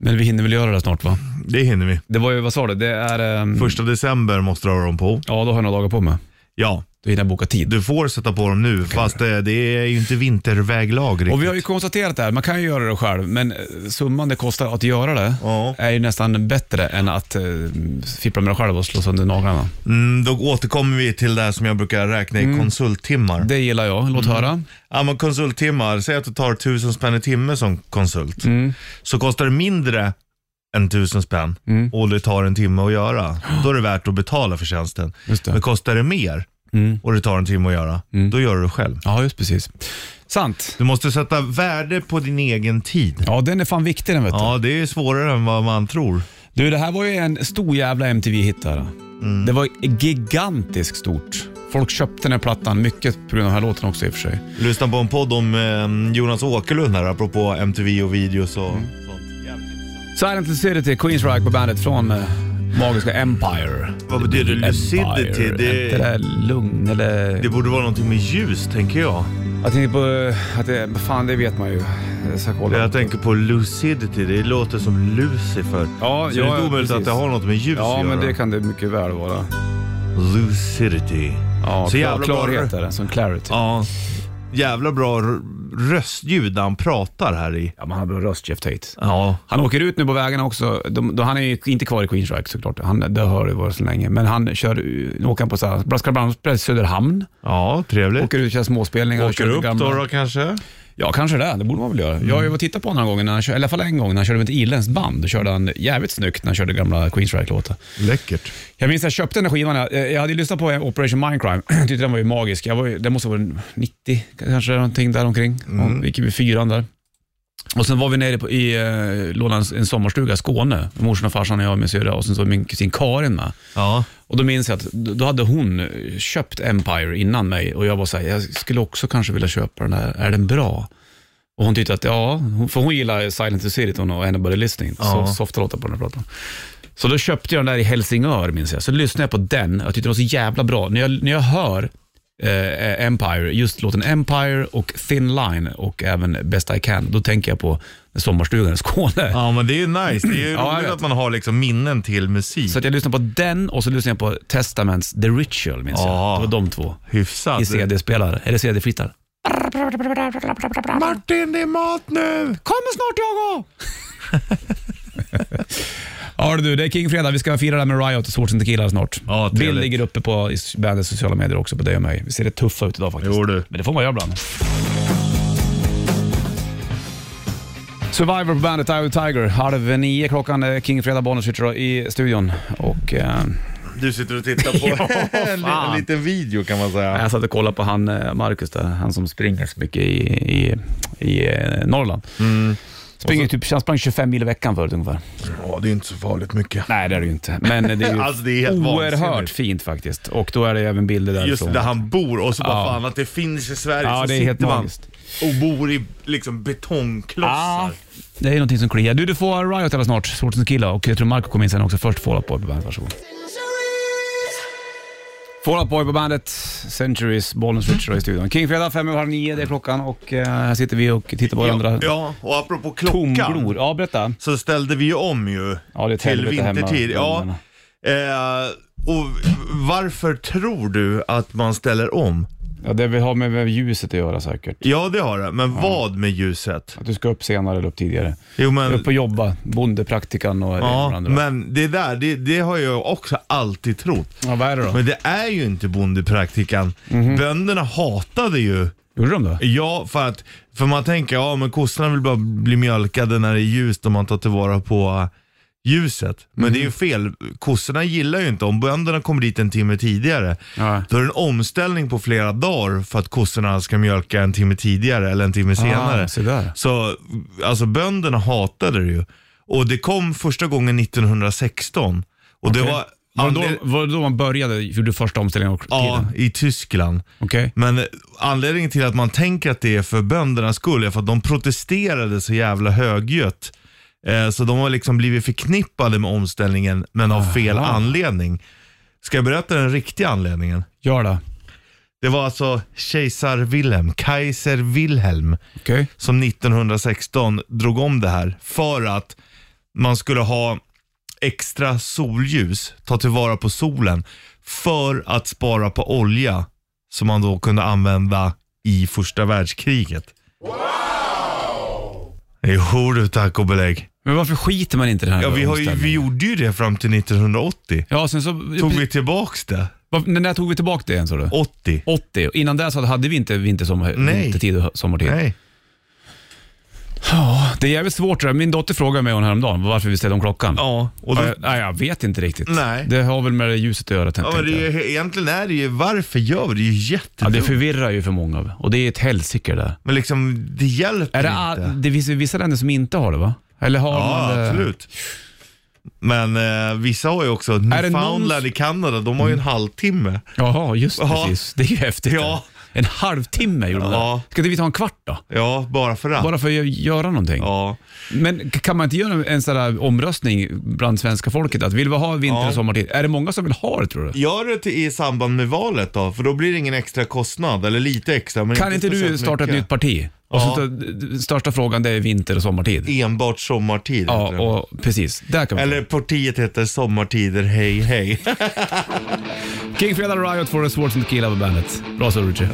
B: Men vi hinner väl göra det snart va?
C: Det hinner vi.
B: Det var ju, vad sa du? Det är... ehm,
C: Första december måste du ha dem på.
B: Ja, då har jag några dagar på mig.
C: Ja,
B: Då hinner jag boka tid.
C: du får sätta på dem nu, fast eh, det, det är ju inte vinterväglag riktigt.
B: Och vi har ju konstaterat det här, man kan ju göra det själv, men eh, summan det kostar att göra det
C: Ja.
B: är ju nästan bättre än att eh, fippla med det själv och slå sönder naglarna.
C: mm, då återkommer vi till det här som jag brukar räkna i konsulttimmar.
B: Mm. Det gillar jag, låt höra.
C: Ja, men konsulttimmar, säg att du tar tusen spänn i timme som konsult.
B: Mm.
C: Så kostar det mindre än tusen spänn
B: Mm.
C: och det tar en timme att göra. Då är det värt att betala för tjänsten.
B: Just det.
C: Men kostar det mer
B: Mm.
C: och det tar en timme att göra, då gör du det själv.
B: Ja, just precis. Sant.
C: Du måste sätta värde på din egen tid.
B: Ja, den är fan viktig den vet du.
C: Ja, det är svårare än vad man tror.
B: Du, det här var ju en stor jävla MTV-hit det här.
C: Mm.
B: Det var gigantiskt stort. Folk köpte den här plattan, mycket på grund av den här låten också i och för sig.
C: Lyssna på en podd om eh, Jonas Åkerlund här, apropå MTV och videos och sånt.
B: Silent Lucidity, Queens Rock på bandet från eh, magiska Empire.
C: Vad betyder lucidity?
B: Empire. Det... Inte det
C: Det,
B: där lugn eller...
C: det borde vara någonting med ljus, tänker jag.
B: Jag tänkte på eh, att det... Fan, det vet man ju. Jag ska kolla.
C: Jag tänker på lucidity, det låter som Lucifer.
B: Ja,
C: Så
B: ja,
C: det är inte
B: ja,
C: omöjligt
B: precis.
C: att det har något med ljus
B: Ja,
C: att
B: men
C: göra.
B: det kan det mycket väl vara.
C: Lucidity.
B: Ja,
C: Så
B: klar,
C: jävla bra.
B: klarhet är det, som clarity. Ja.
C: Ja. Jävla bra r- röstljud han pratar här i.
B: men han har bra röst, Jeff Tate.
C: Ja.
B: Han åker ut nu på vägarna också. De, de, han är ju inte kvar i Queens Rock såklart. Han, det har det varit så länge. Men han kör, nu åker han på så här- Braskarbrandspel Söderhamn.
C: Ja, trevligt.
B: Åker ut och kör småspelningar. och
C: Åker
B: kör
C: upp
B: lite gamla-
C: då, Mm. då kanske?
B: Ja, kanske det. Det borde man väl göra. Jag har ju varit och tittat på honom några gånger, när han kör, eller i alla fall en gång, när han körde med ett irländskt band. Då körde han jävligt snyggt när han körde gamla Queens Rock-låtar.
C: Läckert.
B: Jag minns att jag köpte den här skivan. Jag, jag hade ju lyssnat på Operation Mindcrime. tyckte den var ju magisk. Jag var, ju- den måste ha varit 90 kanske, någonting där omkring. Mm. Vi gick vid fyran där. Och sen var vi nere på, i, eh, lånade en- en sommarstuga i Skåne. Morsan och farsan och jag och min syrra och sen så var min kusin Karin med.
C: Ja.
B: Och då minns jag att då då hade hon eh, köpt Empire innan mig och jag var så här, jag skulle också kanske vilja köpa den här. Är den bra? Och hon tyckte att, ja, hon- för hon gillar Silent to City hon och Anybody Listening.
C: Ja.
B: Så softa låtar på den här plattan. Så då köpte jag den där i Helsingör minns jag. Så lyssnade jag på den jag tyckte den var så jävla bra. När jag, när jag hör eh, Empire, just låten Empire och Thin Line och även Best I Can, då tänker jag på sommarstugan i Skåne.
C: Ja, men det är nice. Det är ju
B: Ja, jag
C: roligt
B: vet.
C: att man har liksom minnen till musik.
B: Så att jag lyssnade på den och så lyssnade jag på Testaments The Ritual minns
C: Ja.
B: jag. Det var de två.
C: Hyfsat.
B: i CD-spelare, eller CD-flyttar.
C: Martin, det är mat nu!
B: Kommer snart jag och! ja du, det är King Fredag. Vi ska fira det här med Riot och Swords and Tequila snart.
C: Ja, trevligt.
B: Bild ligger uppe på i bandets sociala medier också, på dig och mig. Vi ser det tuffa ut idag faktiskt.
C: Jo, du.
B: Men det får man göra ibland. Survivor på bandet, Eye of the Tiger. Halv nio klockan, eh, King Fredag Bonus sitter då i studion. Och, eh,
C: Du sitter och tittar på en li-
B: fan.
C: en liten video kan man säga.
B: jag satt och kollade på han eh, Marcus där, han som springer så mycket i, i, i eh, Norrland. Springer typ, han sprang 25 mil i veckan förut ungefär.
C: Ja, det är inte så farligt mycket.
B: Nej, det är det ju inte. Men eh, det är ju
C: Alltså, det är helt
B: oerhört
C: vansinnigt.
B: fint faktiskt. Och då är det även bilder därifrån.
C: Just där han bor och så
B: Ja.
C: bara fan att det finns i Sverige.
B: Ja,
C: så
B: det är
C: sitter
B: helt
C: man
B: magiskt.
C: och bor i liksom betongklossar.
B: Ah, Det är någonting som kliar. Du, du får Riot alldeles snart. Sortens killa och jag tror Marco kommer in sen också. Först Fall Out Boy på bandet. Varsågod. Fall Out Boy på bandet. Centuries, Bollnäs Richard i studion. Kingfredag, fem över halv nio, det är klockan och eh, här sitter vi och tittar på varandra.
C: Ja, och apropå
B: Tomglor.
C: klockan
B: Ja, berätta.
C: så ställde vi ju om ju
B: Ja, det är ett
C: till
B: helvete hemma.
C: vintertid. Ja,
B: Mm.
C: eh, och varför tror du att man ställer om?
B: Ja, det vi har med- med ljuset att göra säkert.
C: Ja, det har det, men vad med ljuset?
B: Att du ska upp senare eller upp tidigare.
C: Jo,
B: Du är
C: men
B: Upp och jobba, bondepraktikan och
C: Ja,
B: varandra.
C: men det där, det, det har jag också alltid trott.
B: Ja, vad är det då? Mhm.
C: Men det är ju inte bondepraktikan. Bönderna hatade ju,
B: Gjorde de det?
C: ja för att, för man tänker, ja men kossorna vill bara bli mjölkade när det är ljust och man tar tillvara på äh, ljuset. Men
B: Mm.
C: det är ju fel, kossorna gillar ju inte, om bönderna kommer dit en timme tidigare,
B: Ja.
C: då är det en omställning på flera dagar för att kossorna ska mjölka en timme tidigare eller en timme senare.
B: Ah, se där.
C: Så alltså bönderna hatade det ju. Och det kom första gången 1916. Och det var...
B: Var det,
C: anled-
B: då, var det då man började, gjorde första omställningen? och-
C: Ja,
B: tiden?
C: i Tyskland.
B: Okej.
C: Men eh, anledningen till att man tänker att det är för böndernas skull är för att de protesterade så jävla högljutt. Eh, Så de har liksom blivit förknippade med omställningen, men av fel anledning. Ska jag berätta den riktiga anledningen?
B: Gör det.
C: Det var alltså kejsar Wilhelm, Kaiser Wilhelm,
B: Okej.
C: som 1916 drog om det här för att man skulle ha extra solljus, ta tillvara på solen, för att spara på olja som man då kunde använda i första världskriget. Wow! Jo du, tack och belägg.
B: Men varför skiter man inte i den här
C: Ja, vi, har ju, vi
B: omställningen?
C: gjorde ju det fram till 1980.
B: Ja, sen så...
C: Tog vi tillbaks det?
B: Varför- när tog vi tillbaka det igen sa du?
C: 80?
B: 80. Innan det så hade vi inte vintersommar,
C: Nej.
B: vintertid och sommartid.
C: Nej.
B: Ja, det är jävligt svårt det där. Min dotter frågade mig hon häromdagen varför vi ställde om klockan.
C: Ja, och
B: Och
C: då,
B: jag, nej, jag vet inte riktigt.
C: Nej.
B: Det har väl med det ljuset att göra
C: ja,
B: tänkte
C: men det
B: jag.
C: är ju, egentligen är det ju varför gör vi det? Det är ju
B: Ja,
C: jättedumt.
B: det förvirrar ju för många och det är ett helsike det där.
C: Men liksom, det hjälper
B: Är det,
C: inte.
B: all, eh, det finns ju vissa länder som inte har det va? Eller har
C: Ja,
B: man det?
C: absolut. Men eh, vissa har ju också,
B: det
C: Newfoundland
B: någon- Mm.
C: i Kanada, de har ju en halvtimme.
B: Jaha, just
C: Ja.
B: precis. Det är ju häftigt.
C: Ja.
B: det. En halvtimme gjorde man
C: Ja.
B: det. Ska inte vi ta en kvart då?
C: Ja, bara för det.
B: Bara för att göra någonting.
C: Ja.
B: Men k- kan man inte göra en sån där omröstning bland svenska folket? Att vill vi ha vinter
C: Ja.
B: och sommartid? Är det många som vill ha det tror du?
C: Gör det till, i samband med valet då, för då blir det ingen extra kostnad, eller lite extra. Men
B: Kan inte du
C: speciellt
B: starta ett
C: mycket.
B: nytt parti? Och så
C: Ja.
B: ta- d- d- största frågan det är vinter och sommartid.
C: Enbart sommartid heter
B: Ja,
C: det.
B: och precis. Där kan vi
C: Eller partiet heter Sommartider, hej hej.
B: King Fredag Riot for a Swords and Tequila på bandet. Bra så Richie.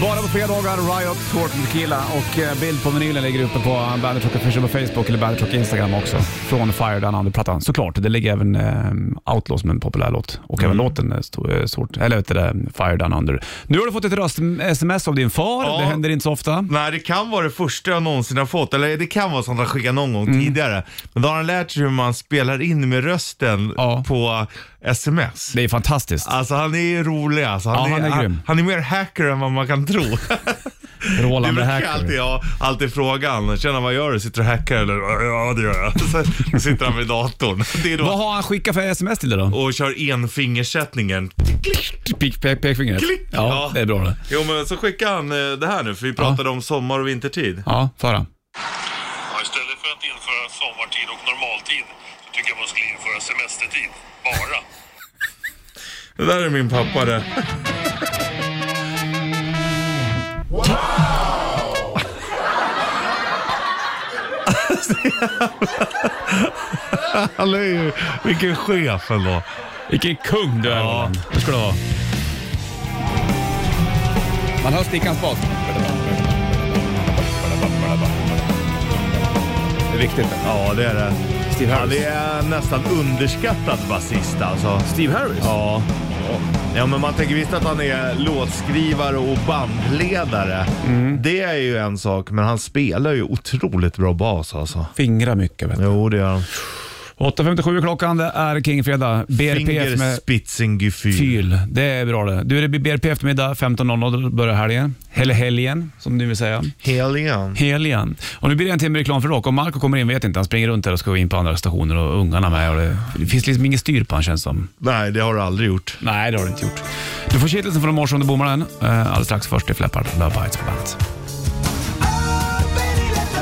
B: Bara på fredagar, Riot, Swords and Tequila och eh, bild på vinylen ligger uppe på Bandet Rock Official på Facebook eller Bandet Rock Instagram också. Från Fire, den andra plattan. Såklart, det ligger även eh, Outlaw som en populär låt och
C: Mm.
B: även låten eh, stod, eh, sort, eller vet du det, Fire Down Under. Nu har du fått ett röst-sms av din far,
C: Ja.
B: det händer inte så ofta.
C: Nej, det kan vara det första jag någonsin har fått, eller det kan vara sånt han skickat någon gång
B: Mm.
C: tidigare. Men då har han lärt sig hur man spelar in med rösten
B: Ja.
C: på sms.
B: Det är fantastiskt.
C: Alltså han är rolig alltså.
B: Ja, han är grym.
C: Han, är mer hacker än vad man kan tro. Det
B: Roland the
C: brukar
B: Hacker.
C: jag alltid, ja, alltid fråga han. Tjena vad gör du? Sitter du och hackar eller? Ja det gör jag. Så sitter han vid datorn. Det är
B: Vad
C: då,
B: har han skickat för sms till dig då?
C: och kör enfingersättningen.
B: Pek, pek, pekfingret?
C: Klick!
B: Ja,
C: Ja.
B: det är bra det.
C: Jo men så skickar han eh, det här nu för vi pratade om sommar och vintertid.
B: Ja, föra.
H: Ja, istället för att införa sommartid och normaltid så tycker jag man skulle införa semestertid. Bara.
C: Det där är min pappa det. Han är ju, vilken chef ändå.
B: Vilken kung du är Roland. Det ska du vara. Man hör stickans bas. Det är viktigt.
C: Ja, det är det.
B: Steve Harris.
C: Ja, det är nästan underskattad basist alltså.
B: Steve Harris?
C: Ja. Ja, men man tänker visst att han är låtskrivare och bandledare. Det är ju en sak, men han spelar ju otroligt bra bas alltså.
B: Fingrar mycket. Vet du.
C: Jo, det gör han.
B: 8.57 är klockan, det är Kingfredag. BRPF med
C: Fingerspitzengefühl.
B: fyl. Det är bra det. Du, det blir BRP eftermiddag 15.00. Då börjar helgen. Eller helgen, som du vill säga.
C: Helgen.
B: Helgen. Och nu blir det en timme reklam för rock. Om Marco kommer in vet inte. Han springer runt här och ska gå in på andra stationer och ungarna med. Och det, det finns liksom inget styr på han känns som.
C: Nej, det har du aldrig gjort.
B: Nej, det har du inte gjort. Du får kittelsen från morse om du bommar den. Eh, Alldeles strax först i Flappard, Love Bites på bandet.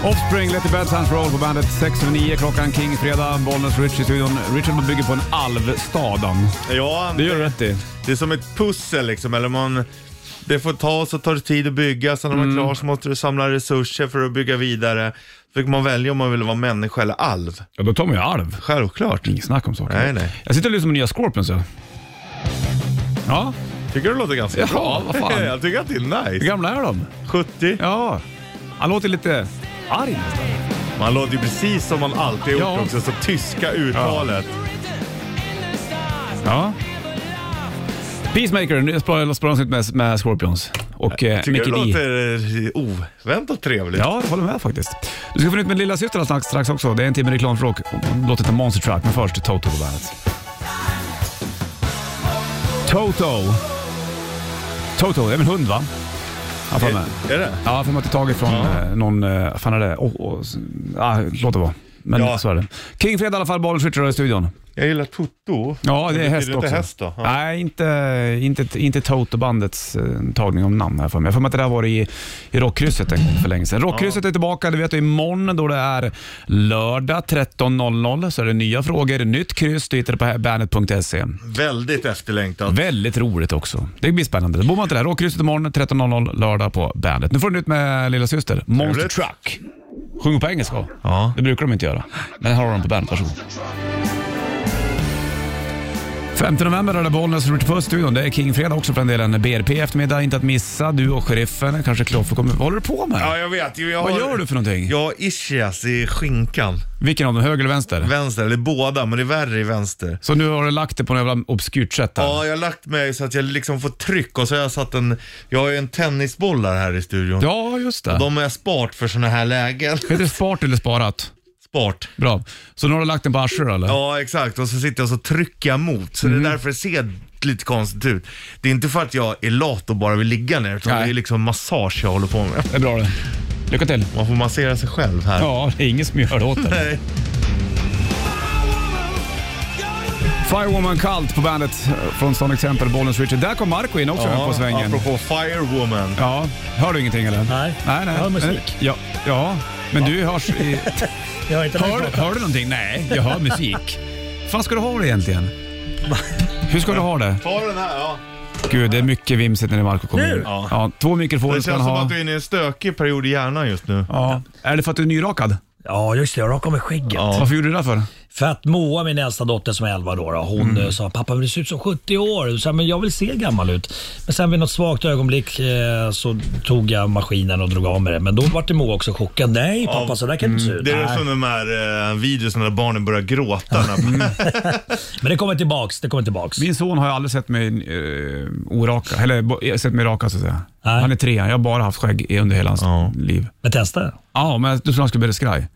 B: Offspring, Let the Bad Times Roll på bandet. 6 över 9 klockan, King, fredag, Bollnäs, Rich i studion. Richard bygger på en alvstadan.
C: Ja,
B: Det gör du rätt i.
C: det är som ett pussel liksom. Eller man, det får ta så tar det tid att bygga. Sen när man är klar så måste du samla resurser för att bygga vidare. Så fick man välja om man ville vara människa eller alv.
B: Ja, då tar man ju alv.
C: Självklart.
B: Inget snack om saker.
C: Nej, nej.
B: Jag sitter och lyssnar på nya Scorpions. Ja. ja,
C: Tycker du det låter ganska
B: Ja,
C: bra?
B: vad fan.
C: Jag tycker att det är
B: hur
C: nice.
B: gamla är de?
C: 70.
B: Ja. Han låter lite arg nästan.
C: Man låter ju precis som man alltid har gjort
B: Ja.
C: också, så tyska uttalet.
B: Ja. Peacemaker, nu spelar spelar de sitt med, med Scorpions. Och eh,
C: Tycker det
B: Mickey D.
C: låter eh, oväntat trevligt.
B: Ja, jag håller med faktiskt. Du ska få nytt med lilla syster strax, strax också. Det är en timme reklam för rock. Låt ta Monster Truck, men först Toto på bandet. Toto. Toto, det är väl en hund va? Jag har för mig.
C: Är det?
B: Ja, jag har för mig att det är taget från
C: Eh. Ja.
B: eh, någon, eh, vad fan är det? Oh, oh, s- ah, låt det vara. Men
C: Ja.
B: så är det. Kingfred i alla fall, Bollens Richard i studion.
C: Jag gillar Toto.
B: Ja, det är
C: Betyder
B: häst
C: inte
B: också.
C: häst då? Ja.
B: Nej, inte, inte, inte Toto-bandets eh, tagning av namn här för mig. Jag har för mig att det där var i, i Rockkrysset en gång för länge sedan. Rockkrysset är tillbaka, det vet du, imorgon då det är lördag 13.00 så är det nya frågor, nytt kryss. Du hittar det på bandet.se.
C: Väldigt efterlängtat.
B: Väldigt roligt också. Det blir spännande. Bor man inte där, Rockkrysset imorgon 13.00 lördag på bandet. Nu får du ut med lilla syster Monster
C: Trevligt.
B: Truck. Sjunger på engelska.
C: Ja.
B: Det brukar de inte göra. Men här har de på bandet, varsågod. 5 november är det Bollnäs Ritchie Puss-studion. Det är Kingfredag också för den delen. BRP i eftermiddag, inte att missa. Du och sheriffen, kanske Kloffe kommer... Vad håller du på med?
C: Ja, jag vet. ju. Jag
B: Vad
C: har-
B: gör du för någonting?
C: Jag har ischias i skinkan.
B: Vilken av dem, höger eller vänster?
C: Vänster, eller båda, men det är värre i vänster.
B: Så nu har du lagt det på något jävla obskyrt sätt här.
C: Ja, jag har lagt mig så att jag liksom får tryck och så har jag satt en, jag har ju en tennisbollar här i studion.
B: Ja, just det.
C: De har jag spart för sådana här lägen.
B: Heter det spart eller sparat?
C: Spart.
B: Bra. Så nu har du lagt den på arslet eller?
C: Ja, exakt. Och så sitter jag och så trycker jag emot. Så
B: Mm.
C: det är därför det ser lite konstigt ut. Det är inte för att jag är lat och bara vill ligga ner, utan
B: Nej.
C: det är liksom massage jag håller på med.
B: Det är bra det. Lycka till.
C: Man får massera sig själv här.
B: Ja, det är ingen som gör det åt det.
C: Nej.
B: Firewoman Cult på bandet eh, från Sonic Temple, Bollens Richard. Där kom Marco in också
C: Ja,
B: på svängen.
C: apropå Firewoman.
B: Ja, hör du ingenting eller?
I: Nej,
B: nej, nej.
I: jag hör musik.
B: Ja, ja. men du hörs i...
I: Jag har inte
B: hör, hör du någonting? Nej, jag hör musik. fan ska du ha det egentligen? Hur ska du ha det?
C: Ta den här, ja.
B: Gud, det är mycket vimsigt när Marco kommer in.
C: Ja.
B: Ja, två mikrofoner
C: Det
B: ska han
C: känns som
B: ha.
C: att du är inne i en stökig period i hjärnan just nu.
B: Ja. Är det för att du är nyrakad?
I: Ja, just det. Jag rakade mig skägget.
B: Varför gjorde du det där för?
I: För att Moa, min äldsta dotter som är 11 då, då hon eh, sa “Pappa, men du ser ut som 70 år”. Så, men jag vill se gammal ut. Men sen vid något svagt ögonblick eh, så tog jag maskinen och drog av mig det. Men då var det Moa också chockad. “Nej pappa, så där kan du inte se ut”.
C: Det är
I: Nej.
C: som de här eh, videorna där barnen börjar gråta.
I: Mm.
C: När,
I: Men det kommer tillbaks. Det kommer tillbaks.
B: Min son har ju aldrig sett mig eh, oraka, eller bo- eh, sett mig raka så att säga.
I: Nej.
B: Han är tre, jag har bara haft skägg i- under hela hans
C: Ja.
B: liv.
I: Men testa.
B: Ja, men jag trodde han skulle bli skraj.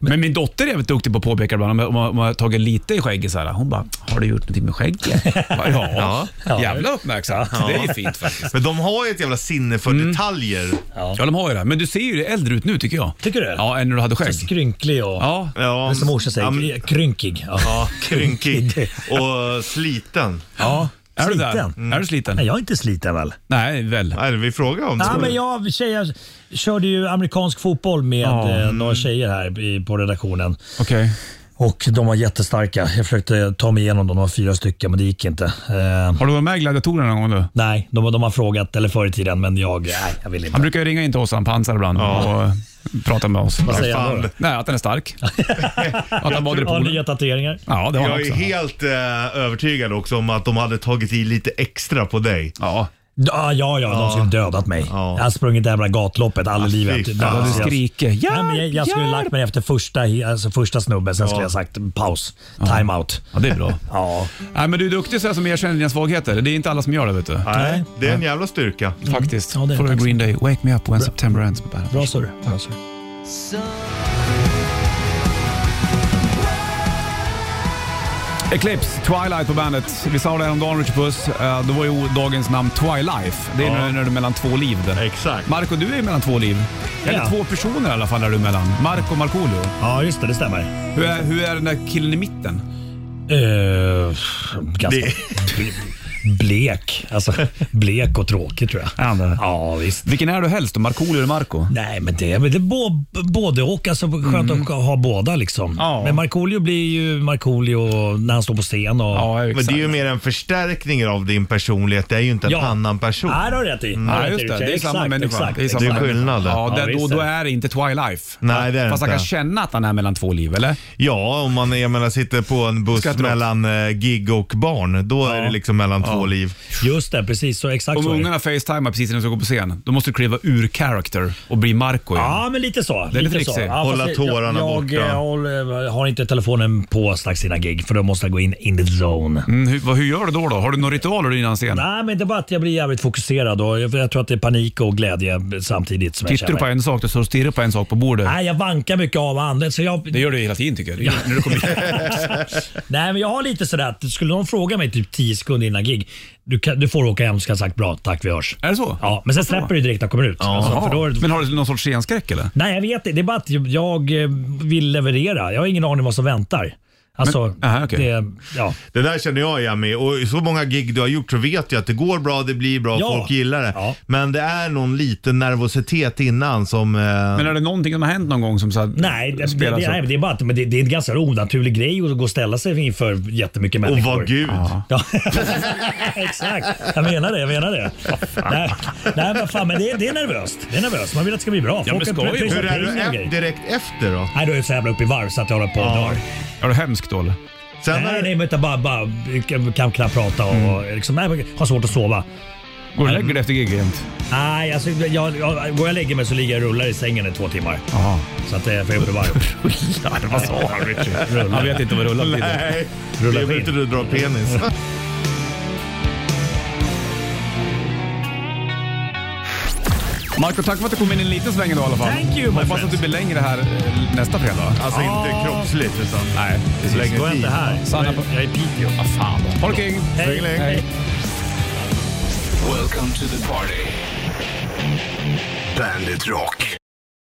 B: Men, min dotter är väldigt duktig på att påpeka ibland om jag- om jag, om jag har tagit lite i skägget. Så här. Hon bara, har du gjort någonting med skägget? Jag bara, ja,
I: Ja.
B: jävla uppmärksamt. Det är fint faktiskt.
C: men de har ju ett jävla sinne
I: Mm.
C: för detaljer.
B: Ja, de har ju det. Men du ser ju äldre ut nu tycker jag.
I: Tycker du?
B: Ja, än när du hade
I: Så
B: skägg.
I: skrynklig och...
B: Ja,
C: Ja,
I: Det är som morsan
C: ja,
I: säger,
C: men-
I: kry- krynkig. Ja.
C: Ja, krynkig och sliten.
I: ja.
B: är du där? Mm.
I: sliten.
B: Är du sliten?
I: Nej, jag är inte sliten väl?
B: Nej, väl.
C: Nej, vi frågar om
I: Ja,
C: det.
I: men jag tjejer, körde ju amerikansk fotboll med
B: Ja.
I: eh, några tjejer här i, på redaktionen.
B: Okej.
I: Och De var jättestarka. Jag försökte ta mig igenom dem, de var fyra stycken, men det gick inte. Eh,
B: Har du varit med i Gladiatorerna någon gång du?
I: nej, de, de har frågat, eller förr i tiden, men jag, nej, jag vill
B: Han
I: inte.
B: brukar ju ringa in till oss, han pansar ibland och eh, prata med oss.
I: Vad säger han då?
C: fan.
B: Nej, att den är stark. att han badar i
I: Har
B: poolen.
I: nya tatueringar?
B: Ja, det har han
C: Jag är
B: också.
C: helt eh, övertygad också om att de hade tagit i lite extra på dig.
B: Ja.
I: Ja, ja, ja, de skulle dödat mig.
C: Ja. Ah,
I: Jag har sprungit det här jävla gatloppet all
C: fy
I: livet.
C: fan.
I: Där-
C: Ja,
B: Du skriker
I: Nej, men jag, jag skulle
B: hjälp,
I: lagt mig efter första, alltså första snubben, sen skulle jag sagt paus, time-out.
B: Ja, det är bra.
I: Ja.
B: Nej, men du är duktig så här som erkänner dina svagheter. Det är inte alla som gör det, vet du.
C: Nej, det är en jävla styrka.
B: Faktiskt.
I: Ja, det är
B: Får du
I: faktiskt.
B: Green Day, Wake Me Up When September Ends på bandet.
I: Bra surr.
B: Eclipse, Twilight på bandet. Vi sa det häromdagen, Richard Puss. Eh, Då var ju dagens namn Twilife. Det är när- när du är mellan två liv. där.
C: Exakt.
B: Marco, du är mellan två liv. Eller
I: Ja.
B: två personer i alla fall är du mellan. Marco och Markoolio.
I: Ja, just det. Det stämmer.
B: Hur är, hur är den där killen i mitten?
I: Eh, ganska
C: Det-
I: blek. Alltså, blek och tråkig tror jag.
B: Ja, det-
I: Ja, visst.
B: Vilken är du helst då? Markoolio eller Marco?
I: Nej, men det är väl det är bå- både och. Alltså, skönt att ha båda liksom.
B: Mm. Ja.
I: Men Markoolio blir ju Markoolio när han står på scen. Och...
B: exakt.
C: Men det är ju mer en förstärkning av din personlighet. Det är ju inte en
I: Ja.
C: annan person.
I: Nej, det har du rätt i. Det har
B: Mm. Ja,
I: du rätt
B: just
I: i,
B: det.
I: Rickard.
B: Det är samma
I: Exakt,
B: människa.
I: exakt,
B: det är
I: exakt.
B: samma
C: Det är
B: människa.
C: skillnad, det.
B: Ja,
I: Ja,
B: där, då,
I: visst
B: då
I: är det.
B: är det inte Twilife.
C: Nej, det är det
B: Fast han kan
C: inte.
B: känna att han är mellan två liv, eller?
C: Ja, om man jag menar, sitter på en buss
B: Ska inte de-
C: mellan eh, gig och barn, då är det liksom mellan två liv.
I: Just det, precis. Så exakt
B: Om
I: så är det.
B: ungarna facetimar precis innan de ska gå på scen, då måste du kliva ur character och bli Marco igen.
I: Ja, men lite så.
B: Det är lite
I: så.
B: lyxigt.
I: fast
C: Hålla
I: jag-
C: tårarna
I: jag,
C: borta.
I: Jag, eh, håller- har inte telefonen på strax innan gig för då måste jag gå in in the zone.
B: Mm, hur, vad- hur gör du då? då? Har du några ritualer innan scen?
I: Nej, men det är bara att jag blir jävligt fokuserad och jag, jag tror att det är panik och glädje samtidigt som jag
B: Tittar du
I: känner.
B: på en sak, då står du och stirrar på en sak på bordet.
I: Nej, jag vankar mycket av andra. Så jag,
B: Det gör du hela tiden tycker jag. Det gör- När du kommer hit.
I: nej, men jag har lite sådär att skulle någon fråga mig typ 10 sekunder innan gig. Du, kan, du får åka hem så ska jag ha sagt bra, tack vi hörs.
B: Är det så?
I: Ja, men sen släpper du direkt när jag kommer ut. Alltså, för då är det,
B: Men har du någon sorts scenskräck eller?
I: Nej, jag vet inte. Det är bara att jag eh, vill leverera. Jag har ingen aning om vad som väntar. Alltså,
B: Men- aha, okej.
I: det, ja.
C: Det där känner jag igen med och i så många gig du har gjort så vet jag att det går bra, det blir bra,
I: Ja.
C: folk gillar det.
I: Ja.
C: Men det är någon liten nervositet innan som... Eh,
B: Men är det någonting som har hänt någon gång som så här,
I: Nej, det, det,
B: spelas
I: det,
B: upp?
I: nej, men det är bara att men det, det är en ganska onaturlig grej att gå och ställa sig inför jättemycket
C: och
I: människor.
C: vad gud.
I: Ja, exakt. Jag menar det. Jag menar det. nej, nej, men fan, men det, det är nervöst. Det är nervöst. Man vill att det ska bli bra.
B: Ja, men
I: Folk
B: skoj.
I: pr- prisar
C: Hur är du
I: pengar och
C: e-
I: grejer.
C: direkt efter då?
I: Nej, då är jag så jävla uppe i varv så att jag håller på och dör.
B: Är du hemsk då eller?
C: Sen
I: Nej,
C: är,
I: nej, men jag bara, bara kan, kan knappt prata och
B: Mm.
I: liksom, nej, men har svårt att sova.
B: Går du och lägger dig efter gig jämt?
I: Nej, alltså, jag, jag, går jag och lägger mig så ligger jag och rullar i sängen i två timmar.
B: Jaha.
I: Så att eh, för jag är uppe i varv.
B: Rullar? Vad sa han Richard? Han vet inte vad rullar betyder.
C: Nej,
I: Rulla
C: det är väl
I: in.
C: inte du drar penis.
B: Marco, tack för att du kom in en liten sväng idag i alla fall.
I: Thank you, my
B: Hoppas
I: friend.
B: att du blir längre här eh, nästa fredag.
C: Alltså inte kroppsligt utan...
B: Nej, precis.
C: Längre
I: Då är jag
C: tid.
I: inte här.
B: Sanna på-
I: Jag är i Piteå.
B: Vad fan då. Ha det king!
I: Hej.
C: Ring, ring.
B: Hej.
A: Welcome to the party. Bandit Rock.